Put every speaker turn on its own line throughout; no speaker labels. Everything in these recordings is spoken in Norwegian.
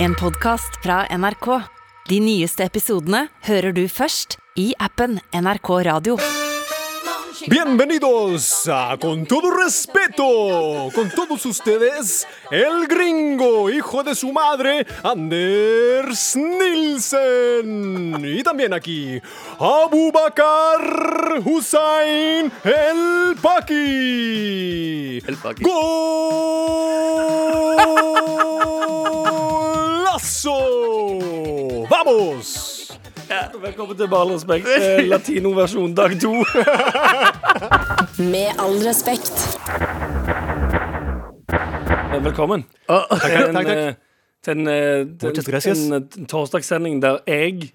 En podcast fra NRK. De nyeste episodene hører du først i appen NRK Radio.
Bienvenidos a Con todo respeto, con todos ustedes, el gringo, hijo de su madre, Anders Nilsen. Y también aquí, Abubakar Hussein El Paki.
El Paki.
¡Golazo! ¡Vamos!
Velkommen til Med all respekt, eh, latinoversjon dag to.
Med all respekt.
Eh, Velkommen.
takk, takk.
eh, Til en, eh, til
Muchas
en,
gracias.
en, eh, torsdagssending der jeg,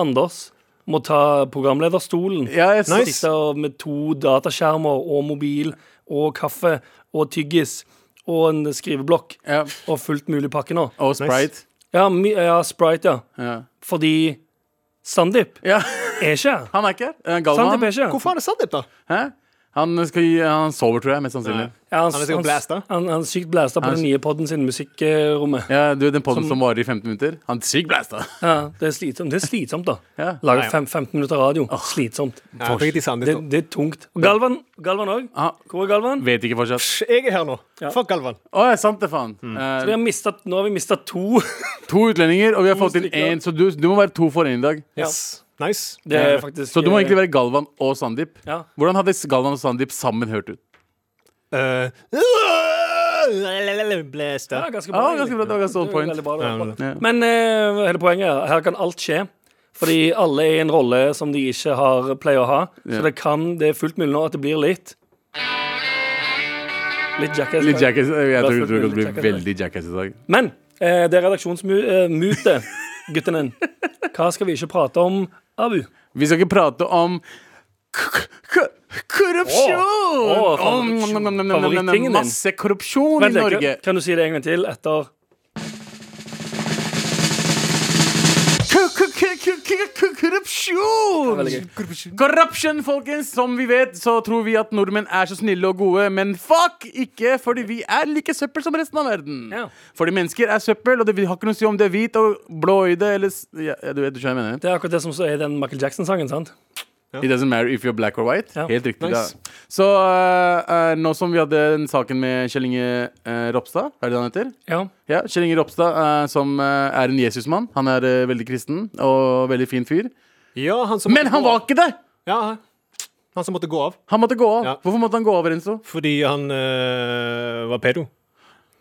Anders, må ta programlederstolen.
Ja, jeg
Nice.
Sitte og- med to dataskjermer og mobil og kaffe og tyggis og en skriveblokk
Ja.
og fullt mulig pakke nå.
Og Sprite.
Ja, mi, ja Sprite, ja.
Ja.
Fordi Sandeep
ja.
er ikke her.
Han er ikke her. Eh, Galvan.
Sandeep er ikke her.
Hvorfor er det sant, dette?
Hæ? Han, skal gi, han sover, tror jeg, mest sannsynlig.
Ja, han,
Han er sikkert blasta.
Han, han er sykt blasta på den nye podden sin, Musikkrommet.
Ja, du, Den poden som, varer i 15 minutter. Han er sykt blæsta.
Ja, det er slitsomt, det er slitsomt da.
Ja.
Lage fem, 15 minutter radio. Slitsomt.
Drit i Sandnes
Det,
nå.
det er tungt. Og Galvan Galvan òg.
Ah.
Hvor er Galvan?
Vet ikke fortsatt.
Psj, Jeg er her nå.
Ja.
Fuck Galvan.
Å, ja, sant det, faen.
Mm.
Eh,
Vi har mistet, nå har vi mista to.
to utlendinger, og vi har fått inn
stykker.
én, så du, du må være to for én i dag.
Yes. Nice. Eh,
Det er faktisk eh,
Så du må egentlig være Galvan og Sandeep.
Ja.
Hvordan hadde Galvan og Sandeep sammen hørt ut?
Eh, Blæsta.
ja, ganske bra.
Ah, ganske bra, det var ganske on
egentlig.
point
Veldig bra, det var bra.
Ja.
Men eh, hele poenget er her kan alt skje. Fordi alle er i en rolle som de ikke har pleier å ha. Så
Ja.
det kan, det er fullt mulig nå at det blir litt Litt jackass.
Litt jackass. eh, Jeg
Bare
tror
fullt
tror det
mulig
kommer til å
jackass,
bli veldig jackass i dag.
Men eh, det er redaksjonsmute, gutten din. Hva skal vi ikke prate om, Abu?
Vi skal ikke prate om k- k- korrupsjon!
Åh, åh,
Om-
korrupsjon.
nom, nom, nom, nom, nom, nom,
Favorittingen din.
Masse korrupsjon i
Vent litt,
Norge.
kan- Kan du si det en gang til etter
K- k- k- k- k- k- Korrupsjon!
Veldig gøy.
Corruption, folkens! Som vi vet, så tror vi at nordmenn er så snille og gode, men fuck ikke, fordi vi er like søppel som resten av verden.
Ja.
Fordi mennesker er søppel, og det vi har ikke noe å si om det er hvit og blå i det, eller s- ja, ja, Du vet du skjønner hva jeg mener?
Det er akkurat det som så er i den Michael Jackson-sangen, sant?
It doesn't matter if you're black or white.
Ja.
Helt riktig.
Nice.
Da. Så øh, øh, nå som vi hadde den saken med Kjell Inge øh, Ropstad, er det det han heter?
Ja.
Ja, Kjell Inge Ropstad, eh, som eh, er en Jesusmann. Han er eh, veldig kristen og veldig fin fyr.
Ja, han som
Men han var ikke det!
Ja, han som måtte gå av.
Han måtte gå av.
Ja.
Hvorfor måtte han gå av, Renzo?
Fordi han eh, var pedo.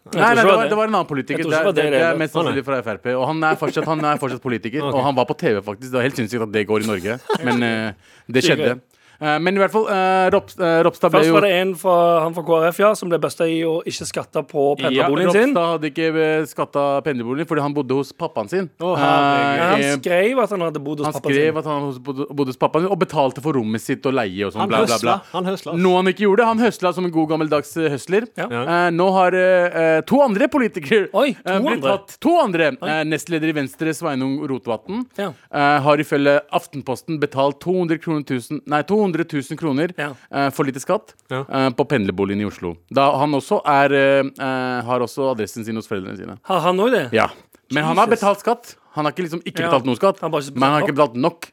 Jeg
Nei,
tror
nei,
ikke
det
var
var,
det.
det var en annen
Jeg
politiker.
tror
Det,
ikke
er-
det var det
det, det
i
er
det
mest sannsynlig fra Frp. Og han er fortsatt, han er fortsatt politiker.
Ok.
Og han var på TV, faktisk. Det var helt sinnssykt at det går i Norge, men eh, det skjedde. Eh, men i hvert fall, eh, Rops, eh, Ropstad ble
Først
jo
var det en fra, han fra KrF ja, som ble busta i å ikke skatte på
Ja,
pendlerboligen sin.
Ropstad hadde ikke eh, skatta pendlerboligen fordi han bodde hos pappaen sin.
Å, herregud.
Eh,
Han
eh,
skrev at han hadde bodd hos
han
pappaen sin.
skrev at han hos- bodde bodde hos pappaen sin og betalte for rommet sitt og leie og sånn.
Han
Bla, bla,
høsla.
bla.
Han høsla.
Noe han ikke gjorde. Han høsla som en god gammeldags eh, høsler.
Ja.
Ja.
Eh, nå har eh, eh, to andre politikere
Oi, to
eh, blitt
andre?
tatt. To andre. Eh, nestleder i Venstre, Sveinung Rotevatn,
Ja.
eh, har ifølge Aftenposten betalt 200 kroner, tusen, nei, 200 000 kroner
Ja.
eh, for lite skatt
Ja.
eh, på pendlerboligen i Oslo. Da han også er, eh, eh, har også adressen sin hos foreldrene sine.
Har han òg det?
Ja. Men han har
Jesus.
betalt skatt. Han har ikke liksom ikke
Ja.
betalt noe skatt,
Han har bare ikke betalt
men han har ikke betalt nok.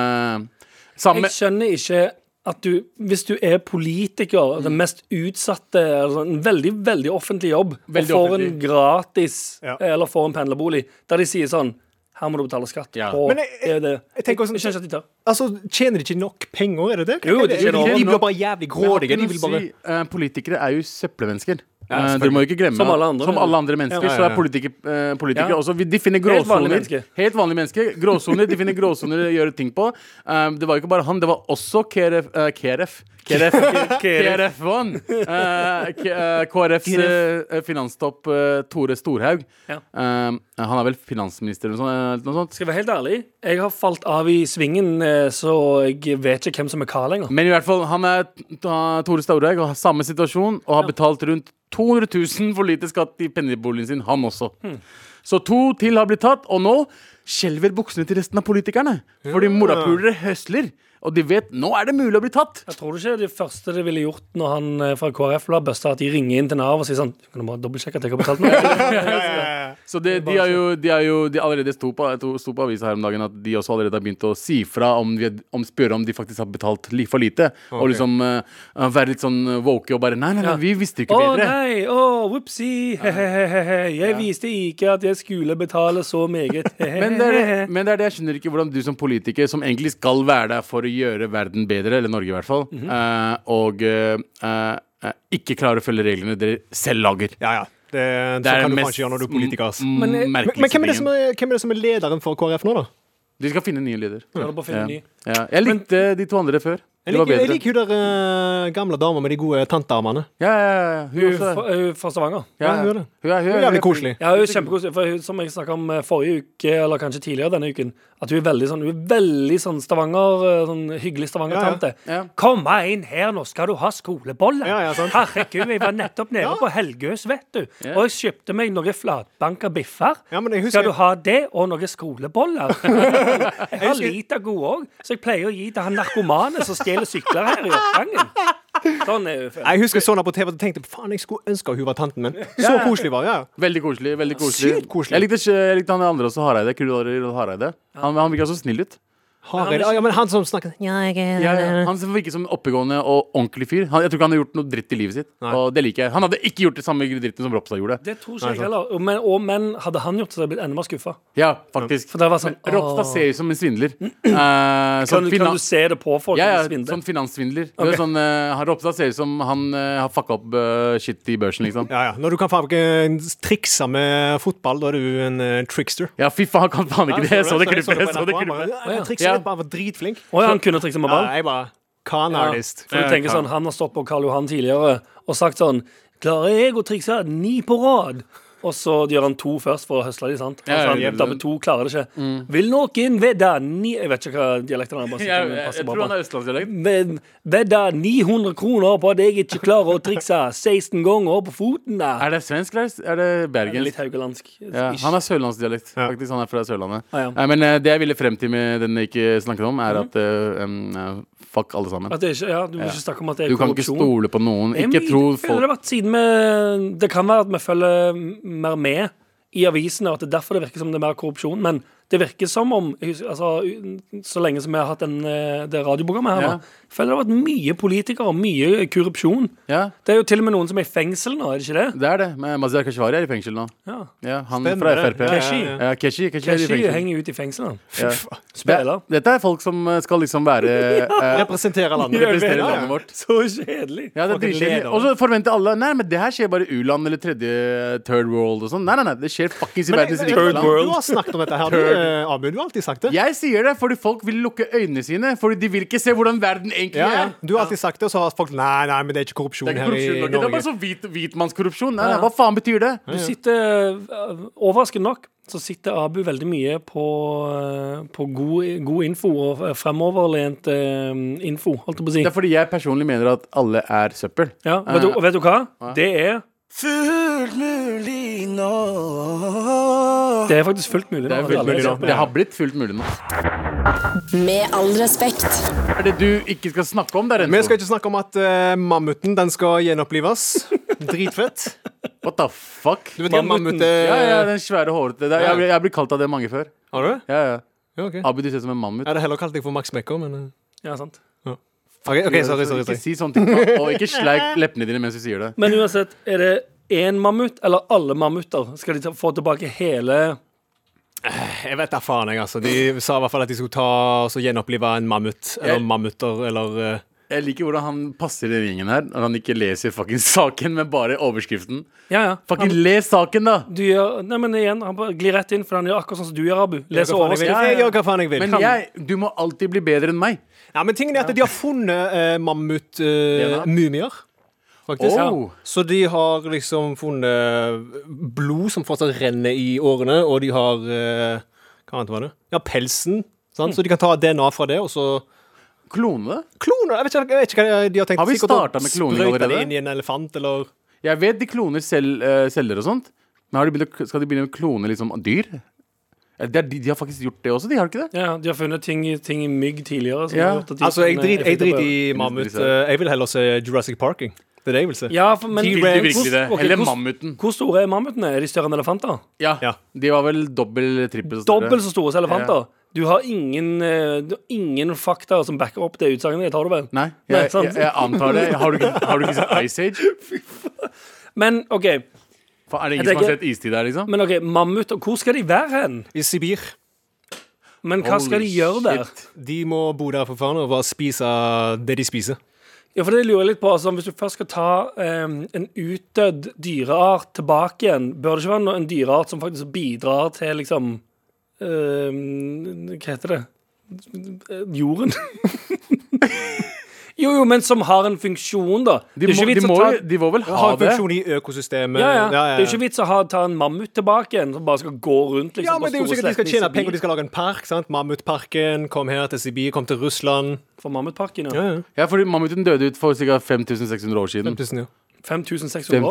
Eh, samme
Jeg skjønner ikke at du, hvis du er politiker,
Mm.
den mest utsatte altså En veldig, veldig offentlig jobb,
Veldig
og får en
offentlig.
gratis
Ja.
Eller får en pendlerbolig, der de sier sånn Her må du betale skatt.
Ja.
på
Men jeg-
det, og det.
jeg tenker også-
jeg skjønner ikke at de tør.
Altså, Tjener de ikke nok penger, er det det?
Jo, de
Er
tjener
de blir
nok.
bare jævlig grådige. De vil bare
si, eh, Politikere er jo søppelmennesker.
Ja,
Eh,
selvfølgelig.
Dere må jo ikke glemme
Som alle
at-
andre.
som alle andre mennesker.
Ja,
ja,
Så
ja.
er politiker, eh, politikere
Ja.
også vi- De finner
Helt vanlige
gråsoner.
mennesker.
Helt vanlige mennesker. Gråsoner. De finner gråsoner å gjøre ting på. Eh, det var jo ikke bare han, det var også KrF. eh, KrF. KrF, KrF1. Eh, K- eh, KrFs eh, finanstopp eh, Tore Storhaug.
Ja.
Eh, han er vel finansminister eller noe sånt? eh, Noe sånt.
Skal jeg være helt ærlig, jeg har falt av i svingen, eh, så jeg vet ikke hvem som er hva lenger.
Men i hvert fall, han er ta- Tore Staurhaug og har samme situasjon og har betalt rundt 200 000 for lite skatt i pendlerboligen sin, han også. Så to til har blitt tatt, og nå skjelver buksene til resten av politikerne. Fordi morapulere høsler, og de vet nå er det mulig å bli tatt.
Jeg tror ikke det første de ville gjort når han eh, fra KrF ble busta, at de ringer inn til Nav og sier sånn Kan du bare dobbeltsjekke at jeg har betalt noe?
Så det, de har jo, de har jo de allerede sto på, to- sto på avisa her om dagen at de også allerede har begynt å si fra om, vi, om spørre om de faktisk har betalt li, for lite. Og liksom eh, være litt sånn eh, woke og bare Nei, nei, nei, vi visste jo
Å
ikke bedre.
nei, å, whoopsie, he-he-he. Jeg visste ikke at jeg skulle betale så meget.
Men det, er det, men det er det jeg skjønner ikke hvordan du som politiker, som egentlig skal være der for å gjøre verden bedre, eller Norge i hvert fall,
Mhm.
eh, og eh, eh, ikke klarer å følge reglene dere selv lager.
Ja, ja. Det, det,
er
kan
den
du
mest
kanskje gjøre når du er politiker. ass.
mm,
men, men,
merkeligste
men hvem, er det
tingen.
som er, hvem er det som er lederen for KrF nå, da?
De skal finne en ny leder.
Klarer bare å finne en ny.
Ja. Jeg likte de to andre før.
Jeg
Det var
liker, jeg
bedre.
liker hun der eh, gamle dama med de gode tantearmene.
Ja, ja, ja. Hun
Hun
også.
fra- hun fra Stavanger.
Ja,
Ja, hun gjør det.
Hun er, hun
Hun
er,
er jævlig koselig.
Ja, hun er kjempekoselig. For hun, som jeg snakka om eh, forrige uke, eller kanskje tidligere denne uken, at hun er veldig sånn, hun er veldig sånn Stavanger, eh, sånn hyggelig Stavanger-tante.
Ja, ja. Ja.
Kom meg inn her, nå skal du ha skoleboller!
Ja, ja, sant.
Herregud, jeg var nettopp nede på Helgøs, vet du. Og jeg kjøpte meg noen flatbanka biffer.
Ja, men jeg husker-
Skal du ha det, og noen skoleboller? jeg har lite gode òg, så jeg pleier å gi til han narkomane som stjeler sykler her i Oppgangen. Sånn er hun. føler jeg.
Jeg husker sånn her på TV og tenkte faen, jeg skulle ønske hun var tanten min. Så koselig var hun. Ja.
Veldig koselig. veldig koselig
Sykt koselig.
Jeg likte, ikke- jeg likte han andre også, Hareide. Krull Hareide. Han, han virka så snill ut.
Hareide. Ja, men han som snakker sånn, ja, jeg er
Ja, ja. Han virket som en oppegående og ordentlig fyr. Han, jeg tror ikke han har gjort noe dritt i livet sitt. Og det liker jeg Han hadde ikke gjort det samme dritten som Ropstad gjorde.
Det tror ikke jeg heller. Men, og, men hadde han gjort det, så hadde jeg blitt enda mer skuffa.
Ja, faktisk
For det var sånn
Ropstad
åh.
ser ut som en svindler. Eh,
kan,
sånn
du- kan
finan-
du se det på folk?
ja, ja,
at de svindler?
sånn finanssvindler. Du vet, Sånn, eh, han Ropstad ser ut som han eh, har fucka opp eh, shit i børsen, liksom.
Ja, ja. Når du kan faen ikke trikse med fotball, da er du en eh, trickster.
Ja, fy faen, han kan faen ikke det! Jeg så det
jeg
krype. Jeg så det
på han bare,
krype.
«Ja, Jeg
Ja.
trikser litt, bare var dritflink.
Å, ja, han kunne trikse med
Ja,
ball?
jeg bare Con artist.
For du
Ja,
tenker
kan.
sånn, Han har stått på Karl Johan tidligere og sagt sånn Klarer jeg å trikse ni på rad? Og så gjør han to først for å høsle de, sant?
Ja,
Altså, han
ja, Mm. ja.
jevnt med to klarer det ikke. Vil noen vedde ni Jeg vet ikke hva dialekten er. bare
Jeg,
sitter med
jeg,
en passe
jeg
bra
tror han
på.
er østlandsdialekt.
Ved- Vedde 900 kroner på at jeg ikke klarer å trikse 16 ganger på foten. Da.
Er det svensk eller er det bergensk?
Litt haugalandsk.
Ja,
Ish.
han har sørlandsdialekt, faktisk. Han er fra Sørlandet.
Ja, ja.
Nei, men eh, det jeg ville frem til med den jeg ikke snakket om, er at eh, em, eh, fuck alle sammen.
Mhm. At det ikke, ja, du må ikke snakke om at det er
Du kan ikke
korrupsjon.
stole på noen.
Jeg
Ikke
mener,
tro
jeg føler Det,
folk
har vært siden vi, det kan være at vi følger mer med i avisene, og at det er derfor det virker som det er mer korrupsjon. Men det virker som om jeg husker- altså, Så lenge som vi har hatt den, eh, det radioprogrammet her,
Ja.
da, jeg føler det har vært mye politikere og mye korrupsjon.
Ja,
Det er jo til og med noen som er i fengsel nå, er det ikke det?
det er det. Men Mazyar Keshvari er i fengsel nå.
Ja.
Ja, han
Stemmer
fra
det.
Frp.
Ja,
ja, ja.
Ja, Keshi, Keshi er i
Keshi
fengsel.
henger ut i fengsel. da.
Ja.
Spiller.
Det- Dette er folk som eh, skal liksom være eh,
Representerer landet.
Representere
Ja, ja.
landet vårt.
Så kjedelig.
Ja, det er
Fucking
dritkjedelig.
leder.
Og så forventer alle Nei, men det her skjer bare i u-land eller tredje third world og sånn. Nei, nei, nei, det skjer fuckings i
Men,
verdens
men,
rikeste land.
du har snakket om dette her, du, eh, Abu. Du har alltid sagt det.
Jeg sier det fordi folk vil lukke øynene sine. Fordi de vil ikke se hvordan verden egentlig
Ja, ja.
er.
Du har alltid sagt det, og så har folk Nei, nei, men det er ikke korrupsjon,
Det er ikke korrupsjon i
her i
Norge. Det er
Norge.
bare sånn hvit, hvitmannskorrupsjon. Nei, nei, hva faen betyr det?
Du sitter, eh, overraskende nok, så sitter Abu veldig mye på, eh, på god, god info og eh, fremoverlent eh, info, holdt jeg på å si.
Det er fordi jeg personlig mener at alle er søppel.
Ja, vet du, og vet du hva? Det er
Fullt mulig nå.
det er faktisk fullt mulig. nå.
Det er fullt
Alle
mulig nå.
sitter-
Det har blitt fullt mulig nå.
Med all respekt.
Er det du ikke skal snakke om, der,
Vi
Renzo?
skal ikke snakke om at eh, mammuten den skal gjenopplives. Dritfett.
What the fuck?
Du vet hva mammut er?
Ja, ja, den svære hårete. Det er- Jeg, blir- jeg blir kalt av det mange før.
Har du det?
Ja, ja.
Ja, ok. Jeg
Abu, du ser ut som en mammut.
hadde heller kalt deg for Max Mekker, men eh,
Ja, sant.
OK, ok, sorry, sorry.
Ikke
sorry.
si sånne ting. faen. Og ikke sleik leppene dine mens du sier det.
Men uansett, er det én mammut eller alle mammuter? Skal de ta, få tilbake hele
Jeg vet da faen, jeg, altså. De sa i hvert fall at de skulle ta og så gjenopplive en mammut. Eller
Jeg-
mammuter, eller eh,
Jeg liker hvordan han passer i ringen her. Når han ikke leser fuckings saken, men bare overskriften.
Ja, ja.
Fucking les saken, da!
Du gjør, nei, men igjen, han bare glir rett inn, for han gjør akkurat sånn som du gjør, Abu. Leser
hva faen jeg vil.
overskriften.
Jeg gjør hva faen jeg vil.
Men jeg, du må alltid bli bedre enn meg.
Ja, men tingen er at de har funnet eh,
DNA.
mammut-mumier. faktisk.
Oh.
Så de har liksom funnet eh, blod som fortsatt renner i årene, og de har eh, Hva annet var det? Ja, pelsen. Sant? Så de kan ta DNA fra det, og så
Klone det?
Klone! Jeg vet ikke, jeg vet ikke hva de har tenkt.
Har vi
Sikkert å
startet med kloning
sprøyte
allerede?
det inn i en elefant, eller
Jeg vet de kloner selv, eh, celler og sånt. Men har de begynt, å- skal de begynne å klone liksom, dyr? Eh, Det er, de, de har faktisk gjort det også, de har ikke det?
Ja, ja, de har funnet ting, i- ting i mygg tidligere. Som
Ja.
har gjort at de
Altså, jeg
kan, eh,
driter jeg
effekter på-
drit i mammut. eh, Jeg vil heller se Jurassic Parking. Bedrevelse.
Ja, for, men
De ville virkelig det.
Ok,
Eller
hvor-
mammuten.
Hvor store er mammutene? Er de større enn elefanter?
Ja.
Ja.
De var vel dobbel trippel så større.
Dobbelt så store som elefanter. Du har ingen, eh, du har ingen fakta som backer opp det utsagnet ditt, har du vel?
Nei,
Nei,
jeg,
sant?
jeg, jeg antar det. Har du, ikke- har du ikke sett Ice Age?
Men OK,
Fa- Er det
Jeg
ingen som har
tenker-
sett istid der, liksom?
men ok, mammuter, hvor skal de være hen?
I Sibir.
Men hva skal de
Holy
gjøre der?
De må bo der for faen og bare spise det de spiser.
Ja, for det lurer jeg litt på altså, Hvis du først skal ta eh, en utdødd dyreart tilbake igjen, bør det ikke være no- en dyreart som faktisk bidrar til liksom eh, Hva heter det? Eh, Jorden? jo, jo, men som har en funksjon, da.
De,
Det er
må,
ikke
de,
vits å
må,
ta-
jo- de må vel ha
Har en
det.
funksjon i økosystemet.
ja, ja. Det er jo ikke vits å ha, ta en mammut tilbake igjen, som bare skal gå rundt. Liksom,
Ja,
på
men det er jo
store
sikkert De skal
sletten i
tjene
Sibir.
penger, de skal lage en park. sant? Mammutparken. Kom her til Sibir, kom til Russland.
For mammutparken, ja. Mm.
Ja, ja.
Ja, fordi Mammuten døde ut for ca. 5600 år siden.
5000, ja.
5600 år.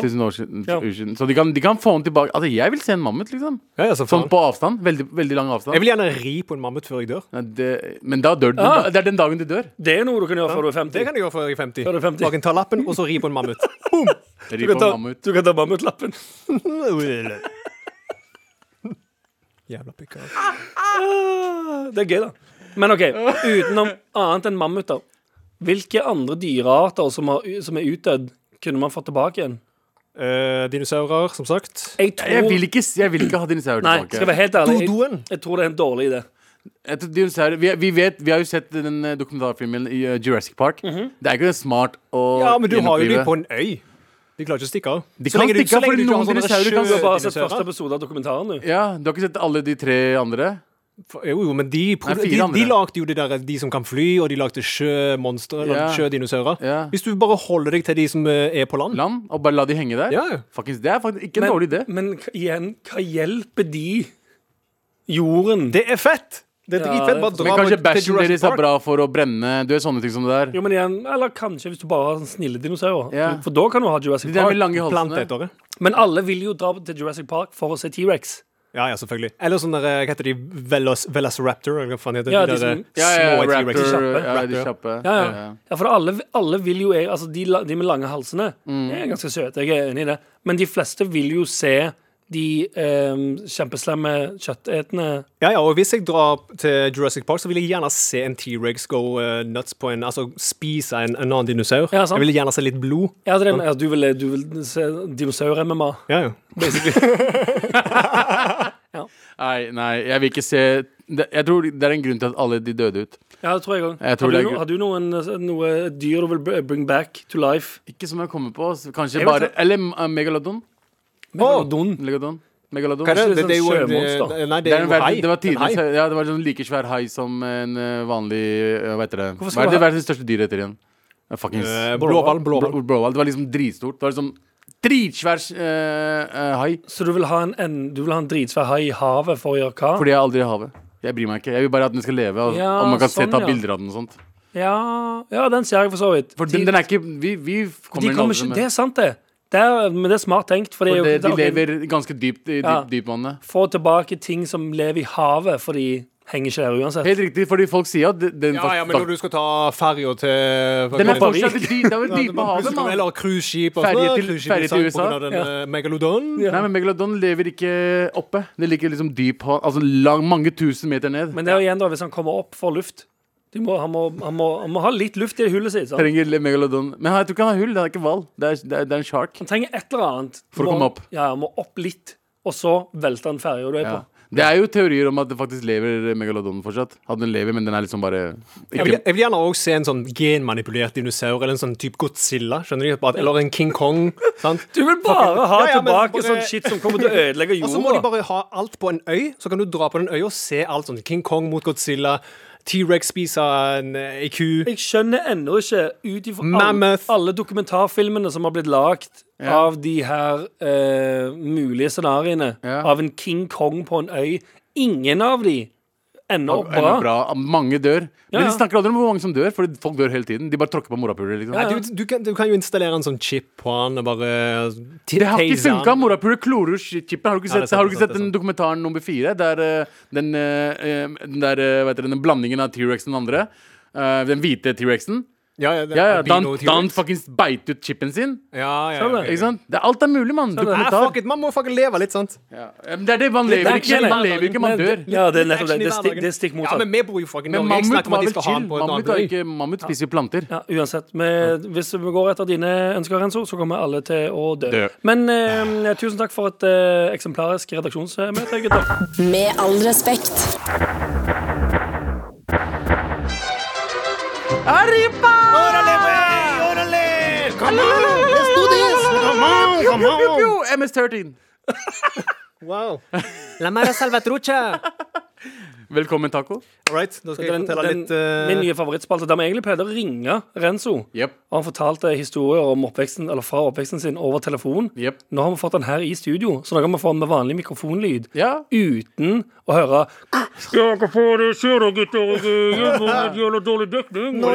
5000 år siden,
Ja.
år siden. Så de kan, de kan få den tilbake. Altså, jeg vil se en mammut, liksom.
Ja, ja, så faen.
Sånn på avstand. Veldig, veldig lang avstand.
Jeg vil gjerne ri på en mammut før jeg dør.
Nei, det, men da dør du.
Ah.
Det er den dagen du dør.
Det er noe du kan gjøre før du er
Det
50.
kan jeg gjøre før jeg er 50.
Før du er 50.
Bare kan ta lappen, og så ri på en mammut.
Ri
Du
på
kan ta,
en mammut.
du kan ta mammutlappen.
Jævla pikka.
Det er gøy, da. Men OK, utenom annet enn mammuter, hvilke andre dyrearter som, har, som er utdødd, kunne man fått tilbake igjen?
Eh, dinosaurer, som sagt.
Jeg
Jeg
tror
vil ikke, s- jeg vil ikke ha dinosaurer
Nei, skal jeg være
tilbake.
helt ærlig, jeg,
Dodoen.
jeg tror det er en dårlig idé.
Jeg tror dinosaurer- Vi, vi, vet, vi har jo sett den eh, dokumentarfilmen i eh, Jurassic Park. Det er ikke smart å
Ja, men du har jo
gjenopplive.
de på en øy. De klarer ikke å stikke av.
De kan stikke av, fordi noen dinosaurer kan
Du har
gå
bare sett første episode av dokumentaren, du.
Ja, Du har ikke sett alle de tre andre?
Jo, jo, men de, pro-
Nei, fire
de, de
andre.
lagde jo de der de som kan fly, og de lagde sjømonstre, eller
Ja.
sjødinosaurer.
Ja.
Hvis du bare holder deg til de som eh, er på land.
Land, og bare la de henge der?
Ja, ja.
Faktisk, det er faktisk ikke en dårlig idé.
men k- igjen, hva hjelper de jorden?
Det er fett! Det er
Ja,
dritfett.
det er
Bare
fett.
dra
Men kanskje
på- til
bæsjen
Jurassic
deres er
Park.
bra for å brenne Du er sånne ting som det der.
Jo, men igjen, Eller kanskje hvis du bare har sånne snille dinosaurer.
Ja.
For da kan du ha Jurassic
De der med
Park.
lange halsene.
Plantetere.
Men alle vil jo dra til Jurassic Park for å se T-rex.
Ja, ja, selvfølgelig. Eller sånn der, eh, hva heter de, Velos, Velociraptor, eller hva faen heter
Ja,
de,
de
der
som-
eh,
Ja, ja,
små
raptor,
T-rexer.
ja, de
Raptor, ja.
kjappe.
Ja,
Ja,
ja.
ja.
ja for alle, alle vil jo Altså, de, la- de med lange halsene
Mm.
er ganske søte, jeg er enig i det. Men de fleste vil jo se de ehm, kjempeslemme kjøttetende
Ja, ja, og hvis jeg drar til Jurassic Park, så vil jeg gjerne se en T-rex go eh, nuts på en Altså spise en, en annen dinosaur.
Ja, sant.
jeg vil gjerne se litt blod.
Ja, det er, den- ja, du, vil, du vil se dinosaur-MMA.
Ja, ja.
Nei, nei, jeg vil ikke se det, Jeg tror det er en grunn til at alle de døde ut.
Ja, det tror jeg òg.
Jeg
Har,
tror
du
det er
no-
gøy.
har du noen eh, noe dyr du vil br- bring back to life?
Ikke som jeg kommer på. så Kanskje
Jeg vet
bare
det.
Eller eh, megalodon.
Megalodon.
Megalodon. Megalodon.
Hva er det?
Kanskje
Det, det er jo en
sjømonster.
eh, Nei,
Det,
det
er
er
en
jo
verden,
hai.
det var tidligere,
En hai.
ja, det var en like svær hai som en eh, vanlig eh, Hva heter det?
Hvorfor
Hva
skal
er det
du ha-
verdens største dyr heter igjen? Eh, Fuckings
Eh, Blåhval, blåhval.
Bro- blåhval. Det var liksom dritstort. Det var liksom dritsvær eh, eh, hai.
Så du vil ha en, en, du vil ha en dritsvær hai i havet for å gjøre hva?
Fordi jeg aldri er i havet. Jeg brir meg ikke. Jeg vil bare at den skal leve, og,
Ah. Ja,
og man kan
sånn,
se, ta
ja.
bilder av den og sånt.
Ja, ja, den ser jeg for så vidt.
For den, den er ikke Vi, vi kommer,
de
den
kommer
aldri
ikke,
med.
det er sant, det. det er, men det er smart tenkt. For det er
For
jo
det,
det
de
er ok.
lever ganske dypt i dyp,
Ja.
dypvannet.
Få tilbake ting som lever i havet, for de henger ikke der uansett.
Helt riktig, fordi folk sier at de- den
Ja, ja, men når du skal ta ferja til
Den er
Hva-
fortsatt i dy- det er vel dype havet, mann.
Eller cruiseskip. og
Ferje
sånn,
til-
cruiseskip
ferje
i
til
Sankt
USA.
på grunn av den, eh, Megalodon.
Nei, men Megalodon lever ikke oppe. Det ligger liksom dyp hav, altså lang, mange tusen meter ned.
Men det er jo igjen da hvis han kommer opp for luft. De må, han, må, han, må, han må ha litt luft i hullet sitt. Sant?
Trenger le- Megalodon Men jeg tror ikke han har hull, det er ikke hval. Det er, det er, det er en shark.
Han trenger et eller annet.
For å
Må-
komme opp.
Ja, han må opp litt, og så velter han ferja du er
Ja.
på.
Det er jo teorier om at det faktisk lever Megalodon fortsatt. At den lever, men den er liksom bare
Jeg vil,
ikke,
jeg vil gjerne også se en sånn genmanipulert dinosaur, eller en sånn type Godzilla. skjønner du? Bare- Eller en King Kong. sant?
Du vil bare
Ja,
ha
ja, men
tilbake
bare-
sånn shit som kommer til å ødelegge
Og så må de
jorda.
bare ha alt på en øy, så kan du dra på den øya og se alt sånn King Kong mot Godzilla, T-rex spiser en, eh, ei ku.
Jeg skjønner ennå ikke, ut ifra alle,
Mammoth.
alle dokumentarfilmene som har blitt lagd av de her eh, mulige scenarioene,
Ja.
av en King Kong på en øy Ingen av de ender opp
er
bra.
noe bra. Mange dør. Men
Ja,
de
ja.
snakker aldri om hvor mange som dør, for folk dør hele tiden. De bare tråkker på morapuler. Liksom.
Nei, du, du, kan, du kan jo installere en sånn chip på han og bare
Det har ikke funka. Morapuler klorer chipen. Har du ikke
Ja, det er
sett,
sant,
har du ikke
det er
sett
sant,
den dokumentaren nummer fire? Der eh, den, eh, eh, den, der, eh, hva heter det, den blandingen av T-rex og den andre. eh, den hvite T-rexen.
Ja, ja, det
Ja, ja,
albino
Dan,
T-rex.
Dan fuckings beit ut chipen sin.
ja, ja,
Sånn
ja.
er
Ikke sant? Det, alt er mulig, mann.
Nei, fuck
Dokumentar.
it, man må fucking leve litt, sant?
Ja. Men Det er det, man lever
action
ikke.
i
Man
hverdagen.
lever ikke, man dør.
Ja, det er nettopp
Action i
det. Det er stikk,
hverdagen.
det er stikk
Ja,
motsatt.
men vi bor jo fucking i
Men
Norge. Jeg
mammut
snakker om
var
at de
vel
skal ha
chill.
den på en
Mammut,
annen
var
øy.
ikke, mammut spiser jo planter.
Ja, uansett. Men eh, hvis vi går etter dine ønsker, Renzo, så kommer alle til å dø.
Dø.
Men eh, tusen takk for et eh, eksemplarisk redaksjonsmøte, gutter.
Med all respekt.
Pew, pew, MS-13.
Wow. La meg salvatrucha.
Velkommen, taco.
All right, da skal jeg
Den,
fortelle
den,
litt eh,
min nye favorittspalte, der vi egentlig pleide å ringe Renzo.
Jepp.
Og han fortalte historier om oppveksten, eller fra oppveksten sin over telefon.
Jepp.
Nå har vi fått den her i studio, så nå kan vi få den med vanlig mikrofonlyd.
Ja.
Uten å høre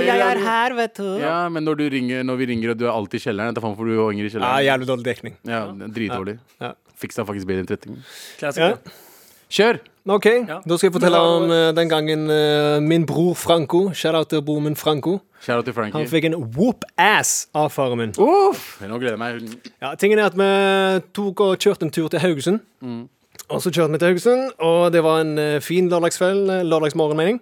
ja, men når, du ringer, når vi ringer og du er alltid i kjelleren, da faen får du jo ringer i
Ja,
kjelleren.
jævlig dårlig dekning.
Ja, Dritdårlig.
Ja.
Fiksa faktisk bedre enn 30 minutter.
klassiker.
Kjør!
OK, da skal jeg fortelle
Ja.
om eh, den gangen eh, min bror Franco Shout-out til broren min Franco.
Kjære til Frankie.
Han fikk en whoop-ass av faren min.
Uff! Nå gleder jeg meg.
Ja, tingen er at vi tok og kjørte en tur til Haugesund. Og så kjørte vi til Haugesund, og det var en eh, fin lørdagskveld. eh, Lørdagsmorgen, mening.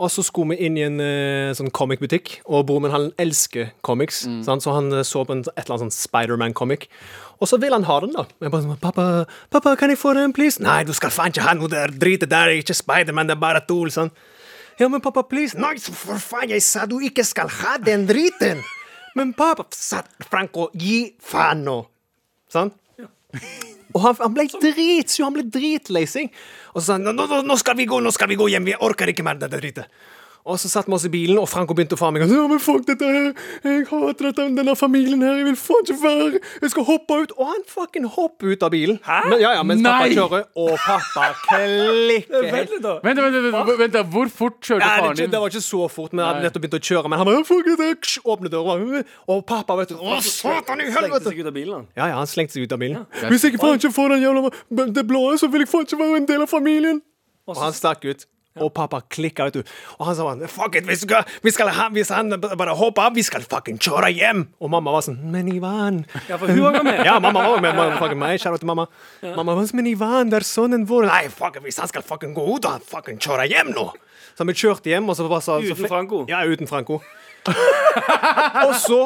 Og så skulle vi inn i en eh, sånn comicbutikk, og broren min han elsker comics. Sant? Så han eh, så på en, et eller annet sånn Spiderman-comic. Og så vil han ha den, da. Jeg bare sånn, pappa, 'Pappa, kan jeg få den, please?' 'Nei, du skal faen ikke ha noe der. Drit i det. Det er ikke Spiderman, det er bare tull.' Sånn. Ja, men pappa, please. Nei, så for faen, jeg sa du ikke skal ha den driten. Men pappa, sa Franco, gi faen nå. Sant? Sånn. Og han, han ble dritsur, han ble dritlei seg. Og så sa han nå, nå, nå skal vi gå, nå skal vi gå hjem, vi orker ikke mer dette dritet. Og så satt vi oss i bilen, og Franco begynte å fare meg. Ja, men fuck dette her, jeg hater dette, denne familien her, jeg vil faen ikke være Jeg skal hoppe ut. Og han fucking hopper ut av bilen. Hæ? Men, ja, ja, mens
Nei!
pappa kjører, og pappa klikker helt.
Vent litt, da.
Vent, vent, vent, vent, vent da. Hvor fort kjørte
Ja,
faren
det,
din?
det var ikke så fort. Vi hadde nettopp begynt å kjøre. Men han bare Fuck it, ksh, åpne døra. Og pappa, vet du. Å, satan i
Slengte
helvete!
seg ut av bilen.
Ja, ja, han slengte seg ut av bilen. Hvis jeg faen ikke får den jævla b- det blå, så vil jeg faen ikke være en del av familien. Og han stakk ut. Og pappa klikka, vet du. Og han sa bare Fuck it, vi skal, vi skal ha, hvis han b- bare hopper av, vi skal fucking kjøre hjem. Og mamma var sånn Men Ivan
Ja, for hun var med.
ja, mamma var med. mamma- Fucking meg, kjære til mamma. Mamma var sånn, men Ivan, det er sønnen vår. Nei, fuck, hvis han skal fucking gå ut, han fucking kjører hjem nå. Så vi kjørte hjem, og så bare så, så
Uten Franco?
Ja, uten Franco. og så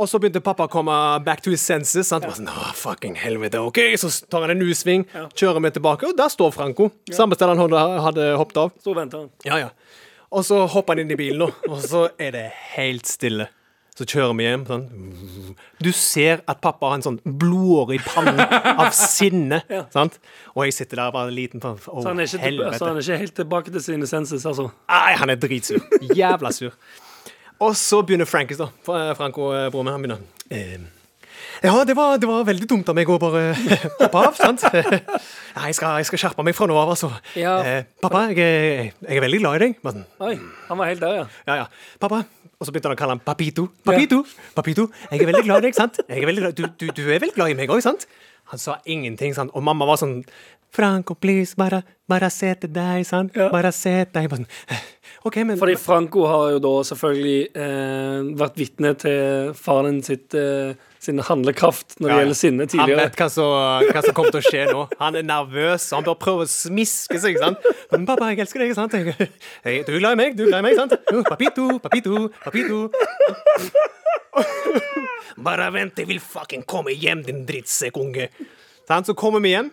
og så begynte pappa å komme back to his senses. Sant? Bare Sånn, «Åh, fucking helvete, ok Så tar han en U-sving, kjører vi tilbake, og der står Franco. Samme sted han hadde- hadde hoppet av.
Så venter han.
Ja, ja. Og så hopper han inn i bilen, nå, og så er det helt stille. Så kjører vi hjem. Sånn. Du ser at pappa har en sånn blodåre i pannen av sinne. Sant? Og jeg sitter der og bare liten sånn Å,
Så han, er ikke,
helvete.
så han er ikke helt tilbake til sine senses, altså.
Nei, han er dritsur. Jævla sur. Og så begynner Frankis, da. Fra- Franco, eh, broren min, han begynner. «Ehm, Ja, det var, det var veldig dumt av meg å bare hoppe av, sant? Nei, jeg skal, jeg skal skjerpe meg fra nå av, altså.
Ja.
Eh, Pappa, jeg, er- jeg er veldig glad i deg. Bare sånn,
Oi, han var helt der, ja.
ja, ja. Pappa. Og så begynte han å kalle ham Papito. Papito, Papito, jeg er veldig glad i deg, sant? Jeg er veldig glad. Du, du, du er veldig glad i meg òg, sant? Han sa ingenting, sant? Og mamma var sånn Franco, please, bare, bare se til deg, sant?
Ja.
Bare se til deg. Bare sånn, OK, men
Fordi Franco har jo da selvfølgelig eh, vært vitne til faren din sitt, eh, sin handlekraft når det
Ja, ja.
gjelder sinne
Han
tidligere.
vet hva som, hva som kommer til å skje nå. Han er nervøs, han bør prøve å smiske seg. sant? Men pappa, jeg elsker deg, sant? Jeg, jeg, du er glad i meg, du er glad i meg, sant? Jo, papito, papito, papito. Bare vent, jeg vil fucking komme hjem, din drittsekkunge. Sant? Så kommer vi hjem.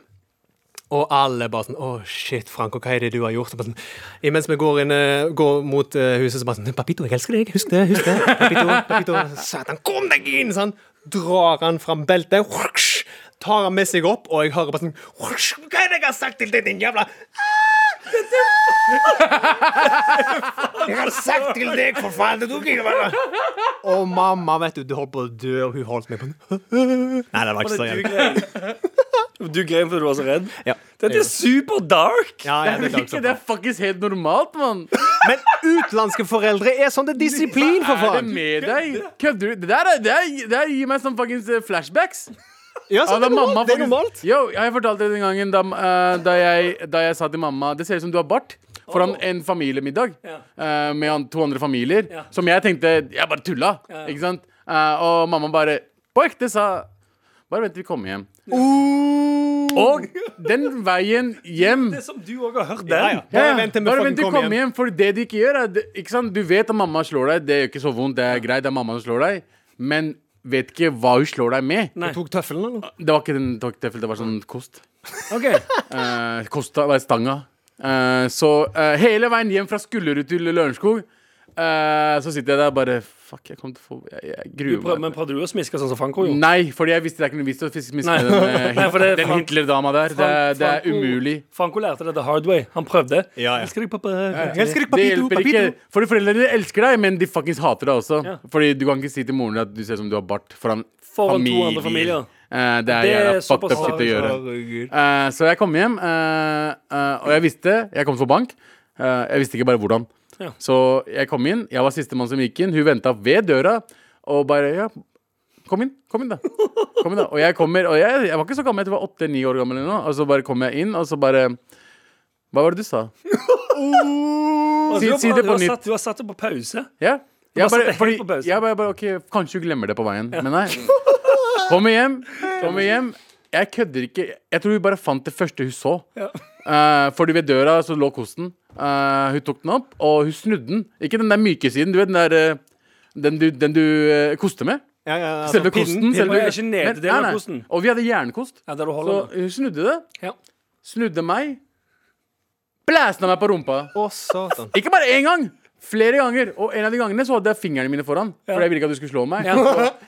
Og alle bare sånn Å, shit, Franco, hva er det du har gjort? Og Bare sånn, imens vi går, inn, eh, går mot eh, huset, så bare sånn Papito, jeg elsker deg. Husk det. husk det Papito, papito Satan, kom deg inn! Sånn. Drar han fram beltet, whoosh, tar han med seg opp, og jeg hører bare sånn whoosh, Hva er det jeg har sagt til deg, din jævla Jeg har sagt til deg, for faen! Det tok ikke bare Og mamma, vet du, du holdt på å dø, og hun holdt meg på Nei, det var ikke så
Du
jævlig.
grein. Du grein fordi du var så redd?
Ja.
Dette er super dark!
Ja, ja, det er klart,
Ikke, det er faktisk helt normalt, mann.
Men utenlandske foreldre er sånn det er disiplin, for
Hva er det
faen!
med deg? Kødder du? Det der, er- det der, det der gir meg sånn fuckings eh, flashbacks.
Ja, sånn, det,
da
er normalt,
mamma
det er
faktisk-
normalt.
Yo, jeg fortalte det den gangen da, eh, da, jeg, da jeg sa til mamma Det ser ut som du har bart. foran en familiemiddag
Ja.
eh, med han- to andre familier,
Ja.
som jeg tenkte Jeg bare tulla,
ja.
ikke sant? Eh, og mamma bare på ekte sa Bare vent til vi kommer hjem. Og den veien hjem
Det som du òg har hørt den.
Ja, ja. Bare vent til vi
bare
fucking
vent til vi
kommer
kommer hjem. For det de ikke gjør, er det- ikke sant? Du vet at mamma slår deg. Det gjør ikke så vondt. Det er greit, det er mamma som slår deg. Men vet ikke hva hun slår deg med.
Nei.
Tok tøffelen, eller?
Det var ikke den det var ikke tøffel, det var sånn kost.
Ok.
Eh, kosta, det var stanga. Eh, så eh, hele veien hjem fra Skullerud til Lørenskog, eh, så sitter jeg der bare Fuck, jeg kommer til å få Jeg, jeg
Du
gruer
prøver, men
meg.
prøver du å smiske sånn som Franco gjorde?
Nei, fordi jeg visste det er ikke noe vits i å fiske miske
Nei.
med den, eh,
Nei, for det er
den
Frank-
Hitler-dama der. Det, er- det er umulig.
Franco lærte det the hard way. Han prøvde.
Ja, ja.
Elsker deg, pappa.
Det hjelper ikke. Fordi foreldrene elsker deg, men de fuckings hater deg også.
Ja.
Fordi du kan ikke si til moren din at du ser ut som du har bart foran
Foran to
familier.
andre familier.
Eh, det er
Det er
jævla fucked
såpass
up shit å gjøre.
Herregud.
Eh, så jeg kom hjem, eh, eh, og jeg visste Jeg kom til å få bank. Eh, jeg visste ikke bare hvordan.
Ja.
Så jeg kom inn. Jeg var sistemann som gikk inn. Hun venta ved døra og bare Ja, kom inn. Kom inn, da. Kom inn da Og jeg kommer, og jeg, jeg var ikke så gammel, jeg tror jeg var åtte-ni år gammel eller noe. Og så bare kom jeg inn, og så bare Hva var det du sa?
Og
Si,
du har-
si det
du har
på nytt.
satt- Du har satt det på pause.
Ja.
bare
Jeg bare,
setter
fordi,
helt på pause.
jeg bare, bare OK, kanskje du glemmer det på veien. Men nei. Kommer hjem. Kommer hjem. Jeg kødder ikke. Jeg tror hun bare fant det første hun så.
Ja.
Eh, fordi ved døra så lå kosten. Eh, hun tok den opp, og hun snudde den. Ikke den der myke siden, du vet den der eh, Den du, den du eh, koster med.
Ja, ja, altså,
Selve
pinnen-
kosten.
pinnen-
Selve,
Å, ja, ikke neddelen
Men- nei,
av
nei.
kosten.
Og vi hadde jernkost.
Ja, der du
Så
holder den.
hun snudde det.
Ja.
Snudde meg. Blæsna meg på rumpa.
Å, satan.
Ikke bare én gang! Flere ganger. Og en av de gangene så hadde jeg fingrene mine foran. Fordi jeg ville ikke at du skulle slå meg.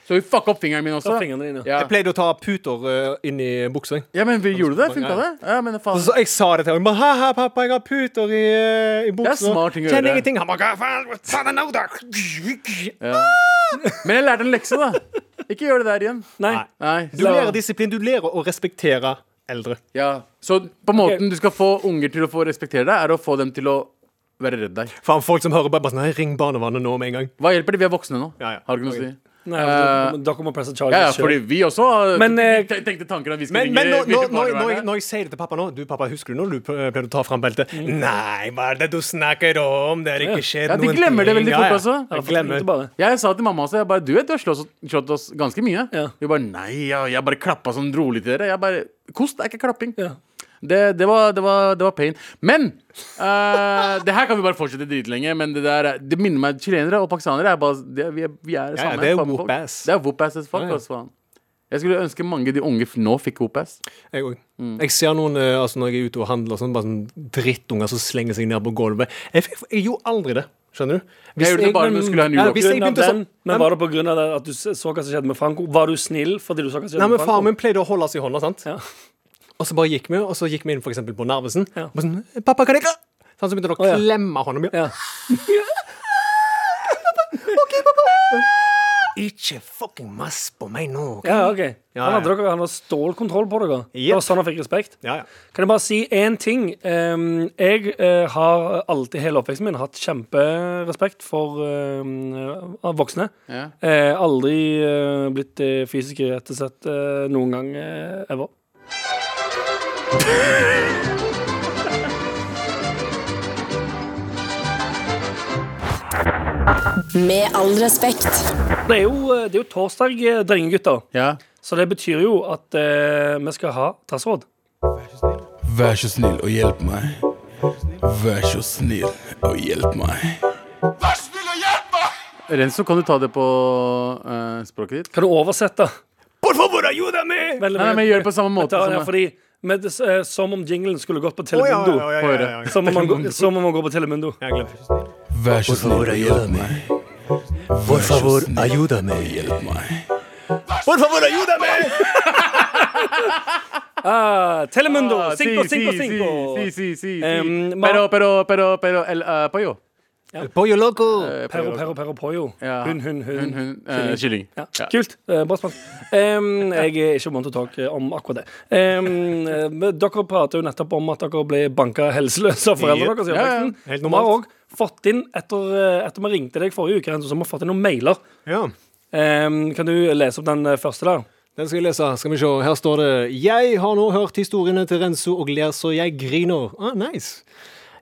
Så hun fucka opp fingeren min også.
Ta fingrene dine.
Ja.
Jeg pleide å ta puter eh, inn i buksa. jeg.
ja, men vi gjorde det. Funka
Ja,
det?
ja.
Ja, men faen.
Altså, Så jeg sa det til ham. Haha, pappa, jeg har puter i, eh, i buksa.
smart ting å
Kjenner
gjøre.
ingenting. Han bare, «Hva faen, hva faen er nå da?»
Men jeg lærte en lekse, da. Ikke gjør det der igjen.
Nei.
Nei.
Nei.
Du
så-
lærer disiplin. Du lærer å respektere eldre.
Ja. Så på måten du skal få unger til å få respektere deg, er å få dem til å være redd deg.
Faen, folk som hører bare, bare sånn Nei, ring barnevernet nå med en gang.
Hva hjelper det? Vi er voksne nå.
Ja, ja.
Har ikke noe å si.
Nei,
Eh,
men dere- Dere må presse charges
Ja, ja,
selv.
fordi vi også har-
Men, eh,
te- tenkte tanken at vi skulle
Men, men nå, nå,
ringe-
når,
ringe
når, jeg,
barnevernet.
når jeg sier det til pappa nå Du, pappa, husker du når du p- pleide å ta fram beltet? Nei, hva er det du snakker om? Det har ikke skjedd
Mm. Ja, de
noen
glemmer det
ting.
veldig
Ja,
fort
ja.
også.
Ja,
Jeg
for-
glemmer.
ikke bare.
Jeg sa til mamma også jeg bare, Du vet du har slått, oss- slått oss ganske mye.
Ja.
Hun bare nei, jeg, jeg bare klappa sånn rolig til dere. Jeg bare, Kost er ikke klapping.
Ja.
Det, det, var, det, var, det var pain. Men eh, det her kan vi bare fortsette dritlenge. Men det der er- Det minner meg chilenere og pakistanere. Er bare, det, vi, er, vi
Ja,
er
ja,
samme.
det er
samme folk.
whoop-ass.
Det er whoop-ass as fuck.
Ja, ja.
ass, faen. Jeg skulle ønske mange de unge f- nå fikk whoop-ass.
Jeg òg.
Mm.
Jeg ser noen eh, altså når jeg er ute og handler, og sånn, bare sånn drittunger som slenger seg ned på gulvet. Jeg, fikk- jeg gjorde aldri det. Skjønner du? Hvis
Jeg gjorde det bare når jeg skulle ha en
Ja,
julokk.
hvis jeg
Grunn av
begynte sånn
den, men var det på grunn av det at du s- så hva som skjedde med Franco? Var du snill fordi du så hva som skjedde
Nei, men
med Franco?
Faren min pleide å holde oss i hånda, sant?
Ja.
og så bare gikk vi og så gikk vi inn for eksempel på Narvesen.
Ja.
Og sånn, 'Pappa, kan jeg kla-?» Så han så begynte han å
Å, ja.
klemme hånda mi.
Ja.
Ikke fucking mass på meg nå. ok?»
ja, OK.
Ja,
Han hadde,
ja.
dere, han hadde stålkontroll på dere. Det var
Yep.
sånn han fikk respekt.
Ja, ja.
Kan jeg bare si én ting? Ehm, jeg eh, har alltid hele oppveksten min hatt kjemperespekt for ehm, eh, voksne.
Ja.
Eh, aldri eh, blitt eh, fysisk irettesett eh, noen gang eh, ever.
Med all respekt.
Det er jo, eh, det er jo torsdag, eh, drengegutter,
Ja.
så det betyr jo at eh, vi skal ha trassråd.
Vær så snill og hjelp meg. Vær så snill og hjelp meg.
Renzo, kan du ta det på eh, språket ditt?
Kan du oversette?
Por favor, ayúdame!
Veldig
Nei,
mye.
nei, men gjør det på samme måte.
Dette er
som-
fordi med, det- eh, Som om jinglen skulle gått på
Å, ja,
Telemundo.
ja, ja, ja, ja, ja.
Som om man går- som om man går på Telemundo.
Jeg glemte.
Vær så snill og hjelp meg. Por favor, ayúdame. Hjelp meg.
Por favor, ayúdame!
Ah, Telemundo!
Ah,
Cinco,
sí,
cinco,
sí,
cinco!
sí, sí, sí, sí.
Em, ma-
pero, pero, pero, pero el eh, pollo.
Pollo loco!
Perro, perro, perro, pollo.
Ja.
Hun, hun, hun.
Hun, hun, eh, kylling.
Ja.
Ja.
Kult. Eh, bra spørsmål. Em, jeg er ikke want to talk eh, om akkurat det. Em, eh, men dere prater jo nettopp om at dere ble banka helseløse av foreldrene deres. i
Ja, ja.
oppveksten.
Helt
Vi har
normalt.
òg fått inn, etter, eh, etter vi ringte deg forrige uke, Renzo, så har vi fått inn noen mailer.
Ja.
Em, kan du lese opp den eh, første der?
Den skal jeg lese. Skal vi se. Her står det Jeg har nå hørt historiene til Renzo og ler så jeg griner. Ah, nice.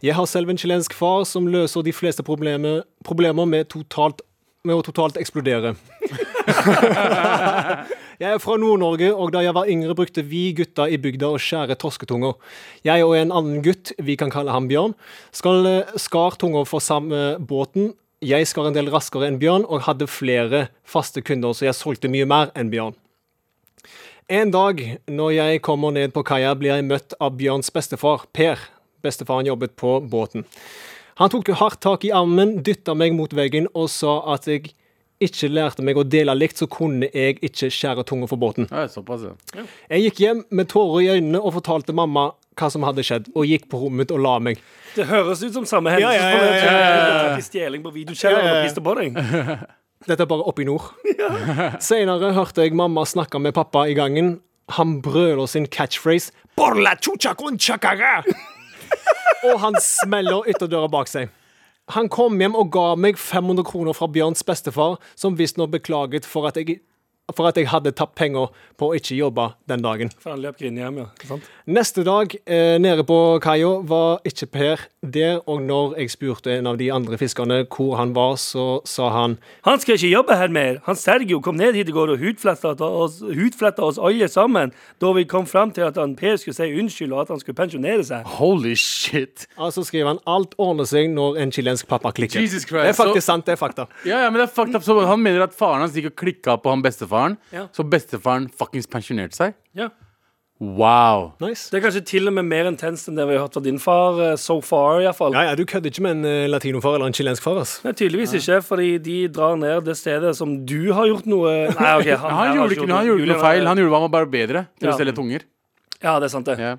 Jeg har selv en chilensk far som løser de fleste problemer, problemer med, totalt, med å totalt eksplodere. Jeg er fra Nord-Norge, og da jeg var yngre, brukte vi gutta i bygda å skjære torsketunger. Jeg og en annen gutt, vi kan kalle ham Bjørn, skal eh, skar tunger for samme båten. Jeg skar en del raskere enn Bjørn, og hadde flere faste kunder, så jeg solgte mye mer enn Bjørn. En dag når jeg kommer ned på kaia, blir jeg møtt av Bjørns bestefar, Per. Bestefaren jobbet på båten. Han tok hardt tak i armen, dytta meg mot veggen og sa at jeg ikke lærte meg å dele likt, så kunne jeg ikke skjære tunga for båten.
Ja, såpass, ja.
Jeg gikk hjem med tårer i øynene og fortalte mamma hva som hadde skjedd, og gikk på rommet og la meg.
Det høres ut som samme hendelse.
Ja, ja, ja, ja, ja,
som Stjeling på videokjeller
Ja, ja, ja.
og piste på deg.
Dette er bare oppe i nord. Senere hørte jeg mamma snakke med pappa i gangen. Han brøler sin catchphrase «Por la chucha con chacara!» Og han smeller ytterdøra bak seg. Han kom hjem og ga meg 500 kroner fra Bjørns bestefar, som visstnok beklaget for at jeg for at jeg hadde tapt penger på å ikke jobbe den dagen.
For han løp grinig hjem, ja. Ikke sant?
Neste dag eh, nede på kaia var ikke Per der, og når jeg spurte en av de andre fiskerne hvor han var, så sa han
Han skal ikke jobbe her mer. Han Sergio kom ned hit i går og hudfletta oss, hudfletta oss alle sammen da vi kom fram til at han Per skulle si unnskyld, og at han skulle pensjonere seg.
Holy shit.
Altså skriver han alt ordner seg når en chilensk pappa klikker.
Jesus Christ,
det er faktisk
så-
sant, det er fakta.
Ja, ja, men det er fucked up. Så han mener at faren hans gikk og klikka på han bestefaren,
Ja.
så bestefaren fuckings pensjonerte seg?
Ja.
Wow.
Nice.
Det er kanskje til og med mer intenst enn det vi har hørt fra din far eh, so far, iallfall.
Ja, ja, du kødder ikke med en eh, latinofar eller en chilensk far, ass.
Nei, tydeligvis ikke, fordi de drar ned det stedet som du har gjort noe Nei, OK.
Han, gjorde ikke han gjorde
Julian
noe
er-
feil. Han gjorde hva han var bare bedre til
Ja.
å selge tunger.
eh, Ja, det er sant, det.
Ja.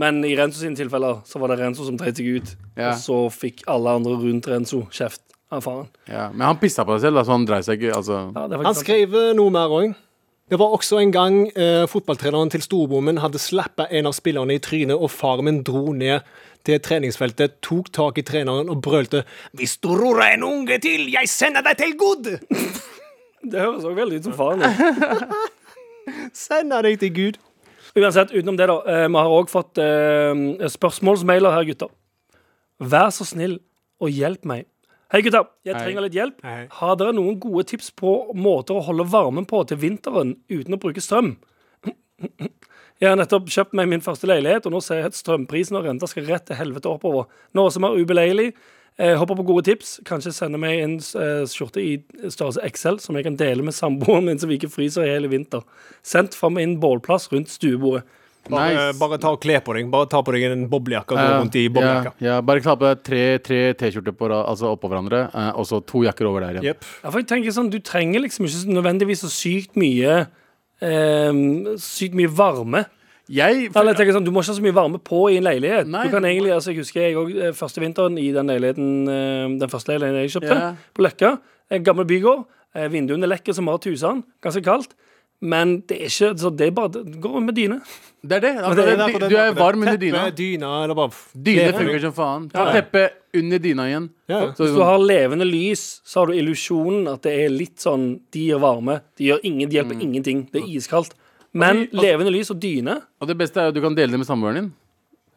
Men i Renzo sine tilfeller så var det Renzo som dreit seg ut.
Ja.
Og så fikk alle andre rundt Renzo kjeft av faren.
Ja. Men han pissa på seg selv, da, så han dreier seg ikke. Altså.
Ja, det er
Han
faktisk sant.
skrev eh, noe mer òg. Det var også en gang eh, fotballtreneren til storbommen hadde slappa en av spillerne i trynet, og faren min dro ned til treningsfeltet, tok tak i treneren og brølte 'Hvis du rorer en unge til, jeg sender deg til Gud!'
det høres også veldig ut som faren. altså. din.
Sender deg til Gud.
Uansett, utenom det, da. eh, Vi har òg fått eh, spørsmålsmailer her, gutter. Vær så snill og hjelp meg. Hei, gutter. Jeg
Hei.
trenger litt hjelp.
Hei.
Har dere noen gode tips på måter å holde varmen på til vinteren uten å bruke strøm? Jeg har nettopp kjøpt meg min første leilighet, og nå ser jeg at strømprisen og renta skal rett til helvete oppover. Noe som er ubeleilig. Jeg håper på gode tips. Kanskje sende meg en eh, skjorte i størrelse XL som jeg kan dele med samboeren min, så vi ikke fryser i hele vinter. Sendt fra min bålplass rundt stuebordet.
Bare,
Nice.
bare ta og kle på deg. Bare ta på deg en boblejakke og gå
Ja,
rundt i
ja,
boblejakka.
ja, bare knappe tre tre T-skjorter på rad, altså oppå hverandre, eh, og så to jakker over der igjen.
Jep.
Ja, for jeg tenker sånn, Du trenger liksom ikke så nødvendigvis så sykt mye eh, Sykt mye varme.
Jeg,
Eller jeg tenker sånn, Du må ikke ha så mye varme på i en leilighet.
Nei.
du kan egentlig, altså Jeg husker jeg også, eh, første vinteren i den leiligheten eh, Den første leiligheten jeg kjøpte,
Ja.
på Løkka. En gammel bygård. eh, Vinduene lekker som bare tusen. Ganske kaldt. Men det er ikke så det er bare, det går rundt med dyne.
det er det. Altså,
Det
det,
derfor
du
den-
er varm under dyna.
Teppe, dyna eller bare f-
Dyne
kle på
funker
deg.
som faen.
Ja,
Ta
ja.
teppet under dyna igjen.
Ja, ja.
Så,
Hvis du har levende lys, så har du illusjonen at det er litt sånn De gir varme. De, gjør ingen, de
Mm.
hjelper ingenting. Det er iskaldt. Men levende lys og dyne
og det beste er jo at du kan dele det med samboeren din.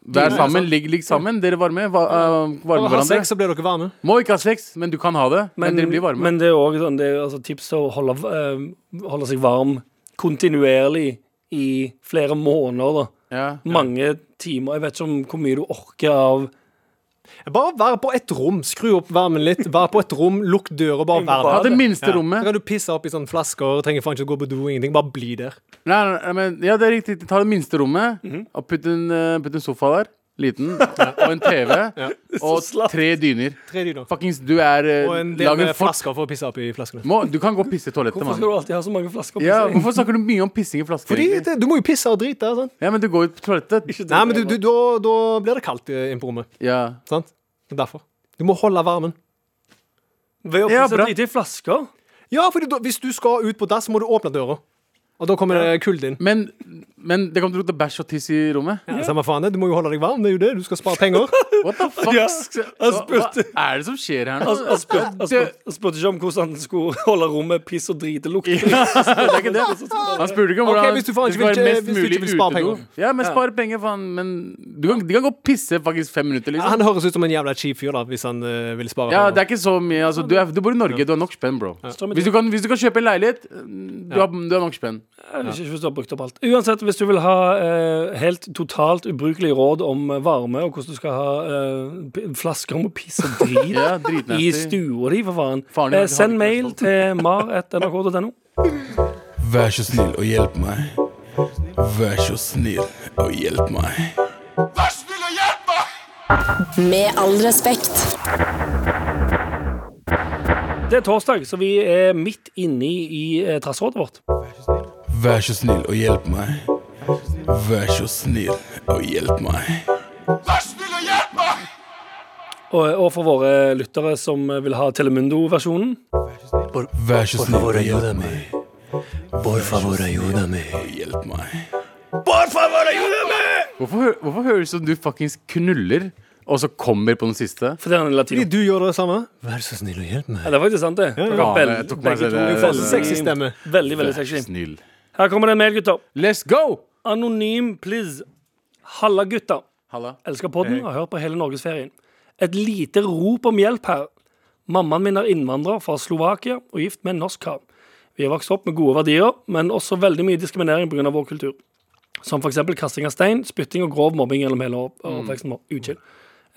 Vær sammen, ligg, ligg sammen. Dere varme. Va, eh, varme
Bare ha
hverandre.
sex, så blir dere varme.
Må ikke ha sex, men du kan ha det. Men, dere blir varme.
men det er òg sånn, det er jo altså, tips til å holde, eh, holde seg varm kontinuerlig i flere måneder. da
ja.
Mange timer. Jeg vet ikke om hvor mye du orker av
Bare vær på et rom. Skru opp varmen litt. Vær på et rom, lukk døra, bare vær
Ha
der.
det minste
Ja. Da
rommet.
kan du pisse opp i sånne flasker, trenger faen ikke gå på do, ingenting. Bare bli der.
Nei, nei, nei, men, ja, det er riktig. Ta det minste rommet,
Mhm.
og putt en, eh, putt en sofa der. Liten. Og en TV. Og tre dyner.
Tre dyner.
Fuckings, du er eh,
Og en del
lag
med
en fort-
flasker for å pisse opp i flaskene.
Må, du kan gå og pisse i toalettet,
Hvorfor
mann.
skal du alltid ha så mange flasker på
Ja,
seg?
hvorfor snakker du mye om pissing i flasker?
Fordi
egentlig?
det, du må jo pisse og drite. Sant?
Ja, men du går jo på toalettet.
Nei, men du, du, da, da blir det kaldt eh, inne på rommet.
Ja.
Sant? Det er derfor. Du må holde varmen.
Ved å
Ja,
pisse
bra.
og drite i flasker?
Ja, for hvis du skal ut på dass, må du åpne døra. Og da kommer det kulden.
Men, men det kommer til å lukte bæsj og tiss i rommet.
Ja, samme faen, det, du må jo holde deg varm. Det er jo det. Du skal spare penger.
What the fuck?
Ja,
hva,
jeg
hva
spurte
er det som skjer her nå?
Altså, Jeg spurte- jeg spurte jeg spurte ikke om hvordan han skulle holde rommet piss og dritelukt.
det er ikke det. Han spurte ikke om hvordan
Ok, hvis du faen ikke
det skal
vil-
være mest
hvis du ikke
mulig
vil spare
utedo.
penger.
Ja, men spar penger, faen. Men du kan, de kan gå og pisse faktisk fem minutter, liksom.
Han høres ut som en jævla kjip fyr, da, hvis han eh, vil spare
Ja,
penger.
det er ikke så mye. Altså, du, er, du bor i Norge, du har nok spenn, bro.
Strøm i
Hvis du kan, hvis du kan kjøpe en leilighet, du har, du har nok spenn.
Ikke hvis du har brukt opp alt. Uansett, hvis du vil ha eh, helt totalt ubrukelige råd om eh, varme, og hvordan du skal ha eh, p- flasker med piss og drit
Ja,
i
dritnasty.
stua di, for faen,
Faren din har
eh,
ikke
send
hatt
mail til mar.nrk.no.
Vær så snill og hjelp meg. Vær så snill og hjelp meg.
Med all respekt.
Det er torsdag, så vi er midt inne i eh, trassrådet vårt.
Vær så snill og hjelp meg. Vær så snill og hjelp meg.
Og, eh, og for våre lyttere som vil ha Telemundo-versjonen.
Vær så snill og hjelp meg.
Por favor, ayúdame.
Og hjelp meg.
Hvorfor, hø- hvorfor høres det ut som du fuckings knuller, og så kommer på den siste?
For det er en
Fordi
latino.
du gjør det samme?
Vær så snill og hjelp meg.
Ja, det er faktisk sant, det. Dere har
Faen,
veld-
jeg tok meg
begge
selv- eh,
to
det-
For
det- det-
sexy stemme.
Veldig, veldig
Vær
sexy.
Snill.
Her kommer det en mail, gutter.
Let's go!
Anonym, please. Halla, gutter.
Halla.
Elsker podden og har hørt på hele norgesferien. Et lite rop om hjelp her. Mammaen min er innvandrer fra Slovakia og gift med en norsk kar. Vi har vokst opp med gode verdier, men også veldig mye diskriminering pga. vår kultur. Som f.eks. kasting av stein, spytting og grov mobbing gjennom hele opp- oppveksten vår. Uchill.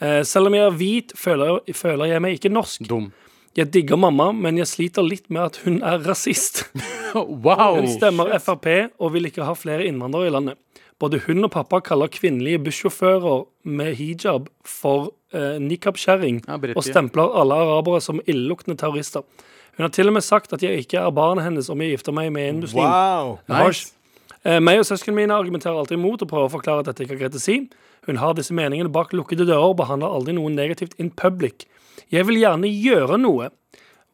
Eh, selv om jeg er hvit, føler jeg, føler jeg meg ikke norsk.
Dum.
Jeg digger mamma, men jeg sliter litt med at hun er rasist.
Wow!
Hun stemmer Frp og vil ikke ha flere innvandrere i landet. Både hun og pappa kaller kvinnelige bussjåfører med hijab for eh, nikabskjæring
Ja, Britt,
og
ja.
stempler alle arabere som illeluktende terrorister. Hun har til og med sagt at jeg ikke er barnet hennes om jeg gifter meg med en muslim.
Wow.
Nice.
Eh, meg og søsknene mine argumenterer alltid imot og prøver å forklare at dette ikke er greit å si. Hun har disse meningene bak lukkede dører og behandler aldri noe negativt in public. Jeg vil gjerne gjøre noe.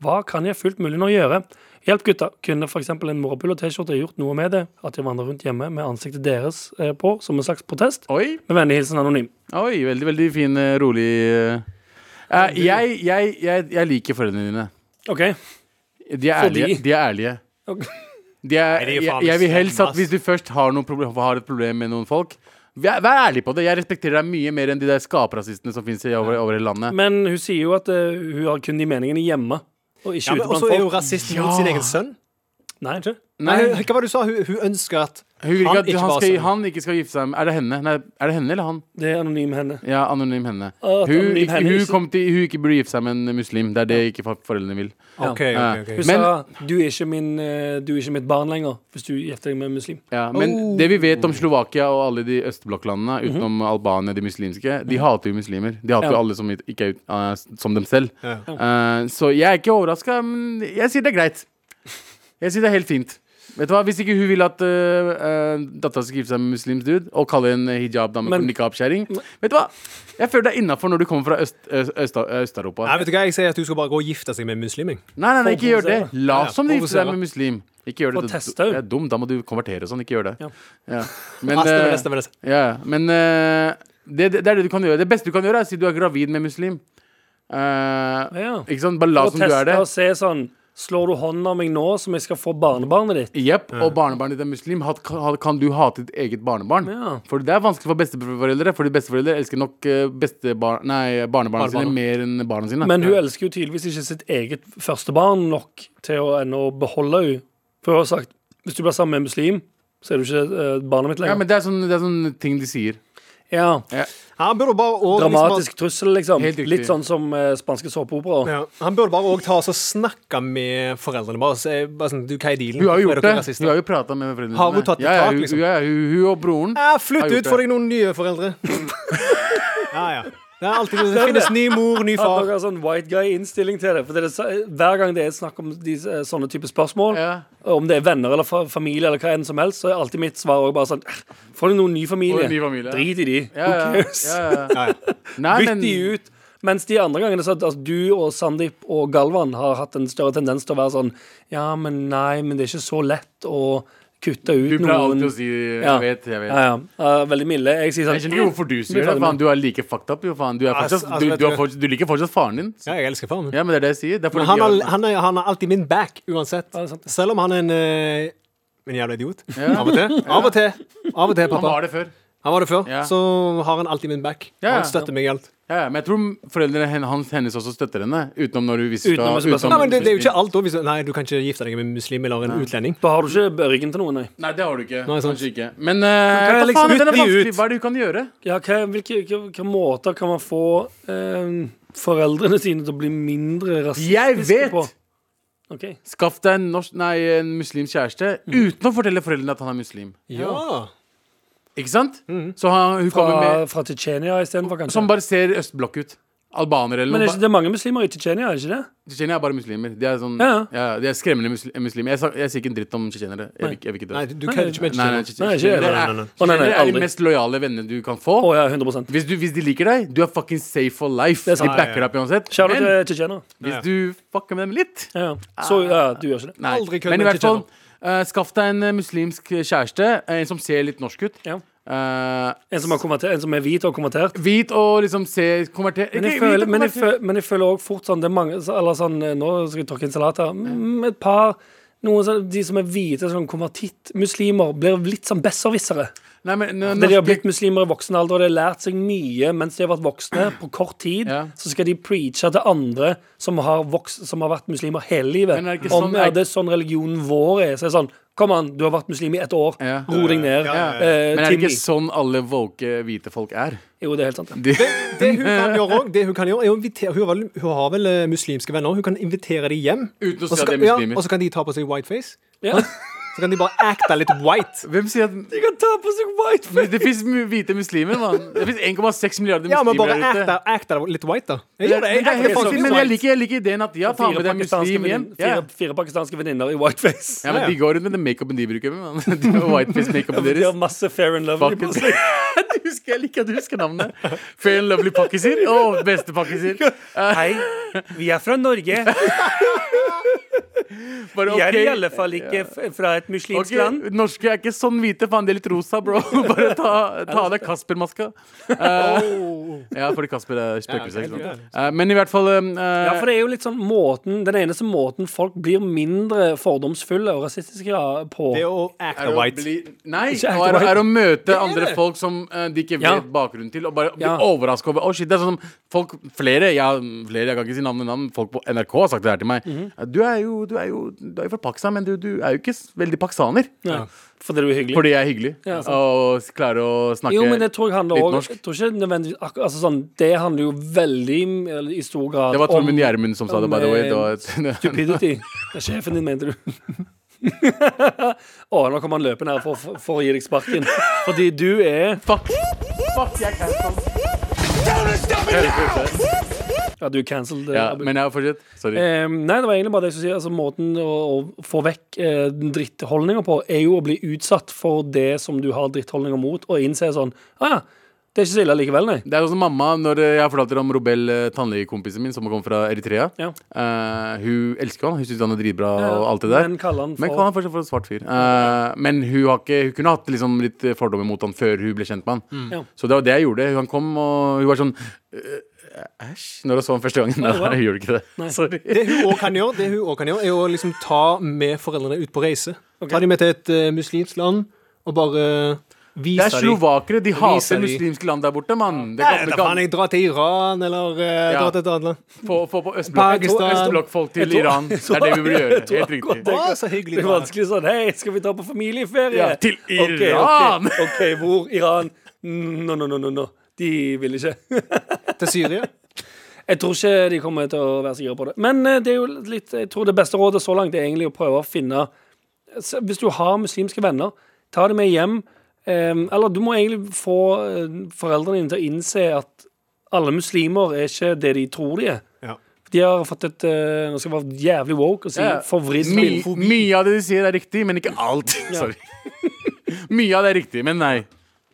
Hva kan jeg fullt mulig nå gjøre? Hjelp, gutta. Kunne f.eks. en morapull og T-skjorte gjort noe med det? At jeg vandrer rundt hjemme med ansiktet deres eh, på, som en slags protest?
Oi,
Med vennlig hilsen anonym.
oi, veldig, veldig fin, eh, rolig eh. Eh, jeg, jeg, jeg, jeg liker foreldrene dine.
OK.
De er
Fordi-
ærlige. De er ærlige.
Ok.
De er,
de er
jeg,
faen
jeg vil helst at
slemme,
hvis du først har, noen problem, har et problem med noen folk Vær vær ærlig på det. Jeg respekterer deg mye mer enn de der skaprasistene som fins over, over hele landet.
Men hun sier jo at eh, hun har kun de meningene hjemme, og ikke
Ja, men
ute blant
også er jo
folk.
rasist mot sin egen sønn.
Nei, ikke?
Nei,
Nei,
hun
Hva var det du sa? Hun, hun ønsker at
vil ikke
han
at
ikke
han,
var
skal,
sånn.
han ikke skal gifte seg med Er det henne? Nei, er det henne eller han?
Det er anonym henne.
Ja, anonym henne.
At
Hun,
anonym henne
hun,
ikke-
kom til, hun ikke burde gifte seg med en muslim. Det er det ikke for- foreldrene vil.
OK,
Ja.
OK.
Hun
Men-
sa du er, ikke min, eh, du er ikke mitt barn lenger hvis du gifter deg med en muslim.
Ja, men
Oh.
det vi vet om Slovakia og alle de østblokklandene, utenom Albania, de muslimske, de hater jo muslimer. De
Mhm.
hater jo
Ja.
alle som ikke er ut, eh, som dem selv. Eh, så jeg er ikke overraska, men jeg sier det er greit. Jeg sier det er helt fint. Vet du hva, Hvis ikke hun vil at uh, dattera skal gifte seg med en muslimsk dude og kalle en hijab-dame for
Men-
nikab-kjerring Vet du hva? Jeg føler deg innafor når du kommer fra Øst- Øst- Øst- Øst-Europa.
Nei, vet du hva, Jeg sier at du skal bare gå og gifte seg med en muslim. jeg.
nei, nei, nei, ikke gjør det. La
Ja, ja,
som du gifter deg
provosere.
med muslim. Ikke gjør det.
Og
Det-
teste henne.
Det er dumt. Da må du konvertere og sånn. Ikke gjør det.
Ja.
Ja. Men,
Ah, stemmer
eh,
det, stemmer det.
Ja, ja. men eh, det, det det er det du kan gjøre. Det beste du kan gjøre, er å si du er gravid med muslim. Eh,
Ja.
Ikke sant? Bare la
Og
som du er det.
teste og se sånn Slår du hånden av meg nå som jeg skal få barnebarnet ditt?
Jepp. Og barnebarnet ditt er muslim. Hat, kan, kan du hate ditt eget barnebarn?
Ja.
For det er vanskelig for besteforeldre, fordi besteforeldre elsker nok eh, bestebar nei, barnebarna
Barnebarna.
sine mer enn barna sine.
Men hun elsker jo tydeligvis ikke sitt eget førstebarn nok til å ennå beholde henne. For hun har sagt hvis du blir sammen med en muslim, så er du ikke eh, barnet mitt
ja,
lenger.
men det er sånn, det er sånn ting de sier.
Ja,
Han burde bare og,
Dramatisk trussel, liksom.
Helt riktig.
Litt sånn som eh, spanske såpeoperaer.
ja, han burde bare òg ta oss og snakke med foreldrene. Bare, se, bare sånn, du, hva er dealen?
Hun har jo
Er
gjort
dere
det.
rasister?
Hun har jo prata med foreldrene
Har hun
sine.
tatt et
ja, ja,
tak,
hun,
liksom?
ja, ja, hun, hun og broren.
Ja,
Har
flytt
gjort
ut, få
det.
deg noen nye foreldre. Ja, ja. Det er alltid det finnes ny mor, ny
At
far.
dere har sånn white guy-innstilling til det. For det er, så- Hver gang det er snakk om de, sånne type spørsmål,
Ja.
om det er venner eller fa familie, eller hva enn som helst, så er alltid mitt svar også bare sånn "Eh, Få deg noen ny familie.
Få deg ny familie.
Drit i de.
Ja, ja,
Who cares?
ja, ja.
Ja, ja.
Nei,
Bytt de ut. Mens de andre gangene så at altså, du og Sandeep og Galvan har hatt en større tendens til å være sånn Ja, men nei, men det er ikke så lett å kutte ut
Du
noen
pleier alltid å si 'jeg vet', jeg vet.
Ja, ja. Eh, veldig milde. Jeg sier
Jeg
sånn
skjønner ikke hvorfor du sier det. Faen, du er like fucked up, jo faen. Du, er
Altså,
fortsatt,
altså,
du,
vet
du, er
du-
fortsatt, du liker fortsatt faren din.
Ja, jeg elsker faren min.
Ja, men det er det jeg sier. Det er
Men
fordi
han
de
har,
er-
han, er, han har alltid min back, uansett.
det er sant, det.
Selv om han er en, eh, en jævla idiot.
Ja.
Av og til. Av og til, Av og til
han
pappa.
var det før.
Han var det før,
Ja.
så har han alltid min back.
Ja,
Han støtter meg i alt.
Ja, ja, men jeg tror foreldrene hen- hans, hennes også støtter henne. Utenom når hun visste
Utenom hvis hun ble
Nei, men det, det er jo ikke alt da, hvis, Nei, du kan ikke gifte deg med en muslim eller en utlending.
Da har du ikke ryggen til noen, nei.
Nei, det har du ikke.
Nei, sant.
Kanskje ikke. Men uh,
liksom
faen, den er
bytte de
vanskelig.
ut.
Hva er det du kan gjøre?
Ja, hva, hvilke, hva, hva måter kan man få eh, foreldrene sine til å bli mindre rasistiske
Jeg vet!
på? Ok.
Skaff deg en, norsk, nei, en muslimsk kjæreste uten å fortelle foreldrene at han er muslim.
Ja.
Ikke sant? Så han, hun kommer
Fra,
med
fra Tsjetsjenia istedenfor, kanskje?
Som bare ser østblokk ut. Albanere eller
Men
noe.
er ikke, det er mange muslimer i Tsjetsjenia, er det ikke det?
Tsjetsjenia er bare muslimer. De er, sånn, ja.
Ja, ja.
de er skremmende musli- muslimer. Jeg, sa- jeg sier ikke en dritt om tsjetsjenere. Jeg, vil ikke- jeg vil ikke dø.
Nei, du kødder ikke med
Nei, nei,
det.
tsjetsjenere
ikke jeg.
er-
Nei, nei, nei.
Å, nei, nei,
tsjetsjenere er de
aldri.
mest lojale vennene du kan få.
Å ja, 100
Hvis, du, hvis de liker deg, du er fucking safe for life.
Det er
De
sant.
backer deg opp uansett.
Kjære
Men
til tsjetsjenere.
hvis du fucker med dem litt
Ja, ja. Så ja, du gjør ikke det.
Nei.
Aldri kødd
Men i
med
hvert fall, eh, skaff deg en eh, muslimsk kjæreste. En som ser litt norsk ut.
Ja.
Eh,
En som, har konvertert, en som er hvit og konvertert.
hvit og liksom ser konverter
Men jeg
Ikke hvit
føler,
og
men jeg
konverter-
føler, men jeg føler også fort sånn, det er mange, så- eller sånn eh, Nå skal jeg tråkke en salat her. Mm, et par noen sånn, De som er hvite, sånn konvertittmuslimer, blir litt sånn besserwissere.
Nei, men,
Når de har
norske-
blitt muslimer i voksen alder og de har lært seg mye mens de har vært voksne, på kort tid,
Ja.
så skal de preache til andre som har, voks, som har vært muslimer hele livet,
Men er det ikke
om
sånn-
er det sånn religionen vår er. Så er det sånn Kom an, du har vært muslim i ett år.
Ja.
Ro deg ned. Eh,
Men er det
Timmy.
ikke sånn alle woke hvite folk er?
Jo, det er helt sant. det.
Det hun kan gjøre òg, det hun kan gjøre, er å invitere Hun, har vel, hun har vel eh, muslimske venner. Hun kan invitere dem hjem.
Uten å
Og
si
så
at de
kan,
er
ja,
muslimer.
og så kan de ta på seg whiteface.
Ja.
Så kan de bare acte litt white.
Hvem sier at
De kan ta på seg whiteface!
Men Det fins hvite muslimer, mann. Det fins 1,6 milliarder
Ja, men
muslimer
bare
der ute.
acte, acte litt white, da. Jeg
Ja,
gjør
men
det.
det
Jeg,
er
acter
helt
faktisk
faktisk,
litt
men jeg
white.
liker, jeg liker ideen at ja, ta
Fire
med deg
pakistanske,
muslim hjem.
vennin-
Ja.
fire, fire pakistanske venninner i whiteface.
ja, men De går rundt med den makeupen de bruker. mann. De har Whiteface-makeupen
De har
deres.
masse fair and lovely
Fuck
på
it.
seg.
Du husker, jeg liker at du husker navnet. Fair and lovely pakkiser. Å, beste pakkiser. Eh,
Hei, vi er fra Norge.
bare
Vi er i
ok.
alle fall ikke f- fra et muslimsk
Ok,
land.
Norske er ikke sånn hvite, faen. De er litt rosa, bro. Bare ta, ta av deg Kasper-maska. Eh, ja, fordi Kasper er spøkelse. ikke sant? Eh, men i hvert fall eh,
Ja, for det er jo litt sånn måten Den eneste måten folk blir mindre fordomsfulle og rasistiske ja, på.
Det å
eh, er
acte
å
white.
Bli, nei,
Ikke
og er,
white.
er å møte andre
det.
folk som eh, de ikke vet
Ja.
bakgrunnen til, og bare bli
Ja.
overraska over Å, shit, det er sånn som folk Flere, ja, flere, jeg kan ikke si navn, navn folk på NRK har sagt det her til meg.
Mhm.
Du er jo, du er jo, du er jo fra Pakistan, men du, du er jo ikke s- veldig pakistaner.
Ja, fordi du er hyggelig.
Fordi jeg er hyggelig
Ja, sant.
og s- klarer å snakke
jo, men det tror jeg handler
litt
også,
norsk.
jeg tror ikke nødvendigvis akkur- altså sånn, Det handler jo veldig eller, i stor grad
Det var
om eh,
Tormund Gjermund som sa det, by the way. Det var et,
stupidity. Det er sjefen din, mente du. Å, nå kommer han løpende her for, for, for å gi deg sparken. Fordi du er
fuck! Fuck, jeg er cancelled.
Ja, du er cancelled. eh,
Ja,
Abu.
men jeg har fortsatt. Sorry.
Eh, nei, det var egentlig bare det jeg skulle si. Altså, måten å, å få vekk eh, drittholdninger på, er jo å bli utsatt for det som du har drittholdninger mot, og innse sånn ah, ja, det er ikke så ille likevel, nei.
Det er sånn som mamma, når eh, jeg fortalte om Robel, eh, tannlegekompisen min, som kommer fra Eritrea.
Ja.
Eh, hun elsker han, hun syns han er dritbra og alt det der.
Men kaller han for
Men kaller han fortsatt for en svart fyr. Eh, men hun, har ikke, hun kunne hatt liksom litt fordommer mot han før hun ble kjent med han.
Ja.
Så det var det jeg gjorde. Han kom, og hun var sånn «Øh, Æsj. Når hun så han første gangen. Nei,
wow.
hun gjorde ikke det. Sorry.
Det hun òg kan gjøre, det hun også kan gjøre, er å liksom ta med foreldrene ut på reise. Ta dem med til et eh, muslimsk land og bare
Det
vise
er
dem.
slovakere. De
de.
hater muslimske land der borte, mann. Det
Nei,
gamle,
da faen,
gamle,
jeg drar til Iran eller eh,
Ja.
drar til et annet land.
få, få på østblokk.
Pakistan.
Østblokkfolk til Iran. Det er det vi burde gjøre. Helt riktig.
Å, så hyggelig.
Det er
det var.
vanskelig sånn Hei, skal vi ta på familieferie?
Ja, til
Ok,
Iran!
ok, ok, hvor? Iran? No, no, no, no, no. De vil ikke.
Til Syria.
Jeg tror ikke de kommer til å være så gira på det. Men eh, det er jo litt, jeg tror det beste rådet så langt er egentlig å prøve å finne s- Hvis du har muslimske venner, ta dem med hjem. eh, Eller du må egentlig få eh, foreldrene dine til å innse at alle muslimer er ikke det de tror de er.
Ja.
De har fått et eh, Nå skal jeg være jævlig woke og si
Ja.
forvridd
My,
homofobi.
mye av det de sier, er riktig, men ikke alt. Sorry. mye av det er riktig, men nei.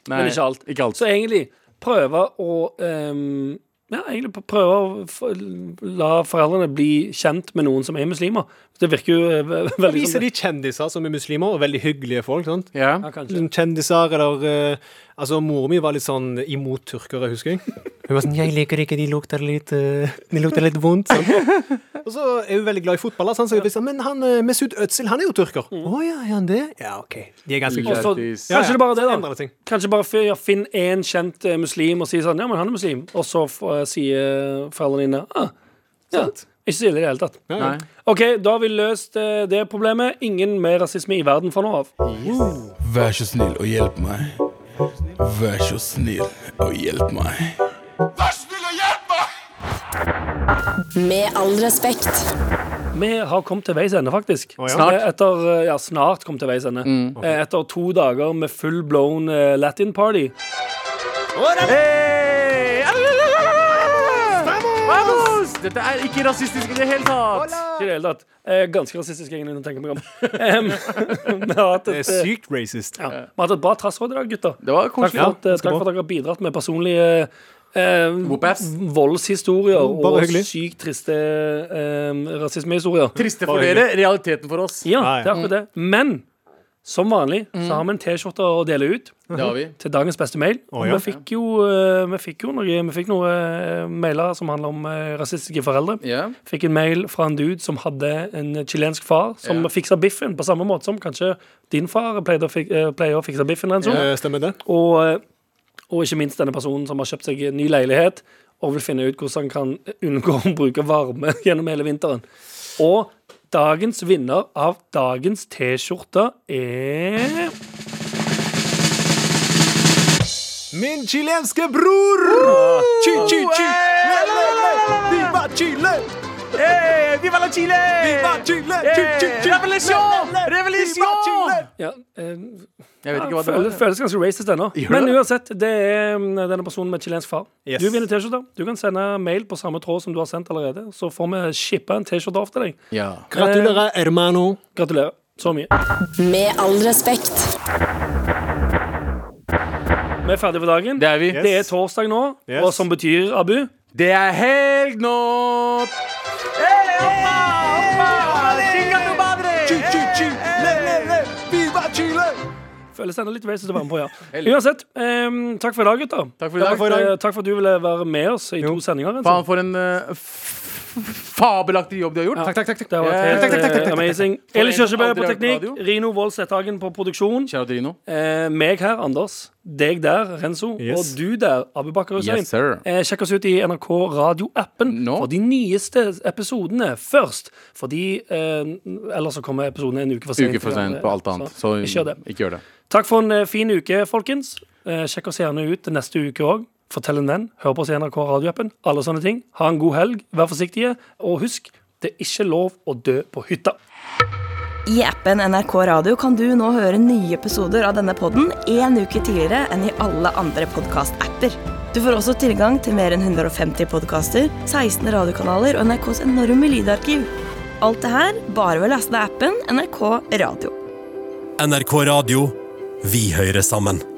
nei
Men ikke alt.
Ikke alt.
Så egentlig prøve å ehm, ja, egentlig pr- prøve å f- la foreldrene bli kjent med noen som er muslimer. Det virker jo eh, ve-
liksom-
Og
veldig
viser de kjendiser som er muslimer, og veldig hyggelige folk. sant?
Ja.
Ja, kanskje.
Sånn Kjendiser eller eh, Altså, mora mi var litt sånn imot tyrkere, husker jeg. Hun var sånn 'Jeg liker ikke, de lukter litt eh, De lukter litt vondt'. Sånn. Og så er hun veldig glad i fotball, da, sant, så jeg visste, men han eh, Mesut Özil, han er jo tyrker. Å ja, er han det? Ja, OK. De er ganske
Og
kule.
så,
Lættis.
Ja, ja.
Mm. kanskje det bare er det,
Endrer det
da.
ting.
Kanskje bare fi- ja, finn én kjent eh, muslim og si sånn Ja, men han er muslim. Og så f- eh, sier foreldrene dine ah, ja, Ikke så ille i det hele tatt.
Nei.
OK, da har vi løst eh, det problemet. Ingen mer rasisme i verden fra nå av.
Vær så snill og hjelp meg. Vær så snill og hjelp meg.
Med all respekt.
Vi har kommet til veis ende, faktisk.
ja.
Snart.
Eh, Etter, eh, ja, snart kom til veis ende.
Mm.
Eh, Etter to dager med full blown eh, Latin party.
Hey! Vamos! Dette er ikke rasistisk i det hele tatt.
Ikke i det hele tatt. Eh, Ganske rasistisk, egentlig, når jeg tenker meg om. Em, vi, har hatt
Det
et,
er
eh,
sykt racist.
ja, vi har hatt et bra trassråd i dag, gutter.
Det var
Takk
koselig.
for, at, eh,
det skal
takk for at dere har bidratt med personlige eh,
Whoop-ass.
voldshistorier og
Mm, bare hyggelig.
sykt triste eh, rasismehistorier.
Triste for dere, realiteten for oss.
Ja,
Ja,
Mm. ja.
det er akkurat det. Men som vanlig så
Mm.
har vi en T-skjorte å dele ut.
Det har vi.
til dagens beste mail. Og
ja.
vi, fikk jo, eh, vi fikk jo noe, vi fikk noe eh, mailer som handler om eh, rasistiske foreldre.
Ja.
Fikk en mail fra en dude som hadde en chilensk far som
Ja.
fiksa biffen på samme måte som kanskje din far pleide å, fik, eh, pleier å fikse biffen. Renzo.
Eh, Stemmer det?
Og, eh, og ikke minst denne personen som har kjøpt seg en ny leilighet og vil finne ut hvordan han kan unngå å bruke varme gjennom hele vinteren. Og dagens vinner av dagens T-skjorte er
Min chilenske bror! Chi, chi, chi. Le, le, le. Viva Chile!
Viva la Chile!
Viva Chile! Chi, chi, chi.
Revolusjon!
Le, le, le. Viva Chile!
Revolusjon!
ja, eh,
Jeg vet ikke
Ja,
hva det
føles,
var.
føles ganske racist ennå. Men uansett, det er mm, denne personen med chilensk far.
Yes.
Du vinner T-skjorte. Du kan sende mail på samme tråd som du har sendt allerede. Så får vi shippa en T-skjorte opp til deg.
Ja.
Gratulerer, hermano.
Gratulerer. Så mye.
Med all respekt.
Vi er ferdige for dagen.
Det er vi.
Det er torsdag nå,
Yes.
og som betyr, Abu
Det er helg nå!
Chi, chi, chi. Le, le, le. Viva Chile!
Føles ennå litt racist å være med på, ja.
Heldig.
Uansett, em, takk for i dag, gutter.
Takk for i dag.
for, eh, takk for at du ville være med oss i to sendinger. altså.
Faen for en eh, f- fabelaktig jobb du har gjort.
Ja.
Takk, takk, takk.
Det har vært
Yeah.
helt
Takk, takk, takk,
eh, amazing.
For
Eli
en som
Kjørsebø
aldri
på
har hørt
teknikk.
radio.
Rino Wold Sethagen på produksjon.
Kjære Trino.
Eh, meg her, Anders. Deg der, Renzo.
Yes.
Og du der, Abubakar Hussein.
Yes, sir.
eh, sjekk oss ut i NRK Radio-appen
Nå.
for de nyeste episodene først. Fordi eh, Ellers så kommer episodene en uke for sent.
Uke for sent på alt annet. Så
ikke gjør det.
ikke gjør det.
Takk for en eh, fin uke, folkens. Eh, sjekk oss gjerne ut neste uke òg. Fortell en venn. Hør på oss i NRK Radio-appen. Alle sånne ting. Ha en god helg. Vær forsiktige. Og husk, det er ikke lov å dø på hytta.
I appen NRK Radio kan du nå høre nye episoder av denne podden en uke tidligere enn i alle andre podcast-apper. Du får også tilgang til mer enn 150 podcaster, 16 radiokanaler og NRKs enorme lydarkiv. Alt det her bare ved å laste ned appen NRK Radio.
NRK Radio. Vi hører sammen.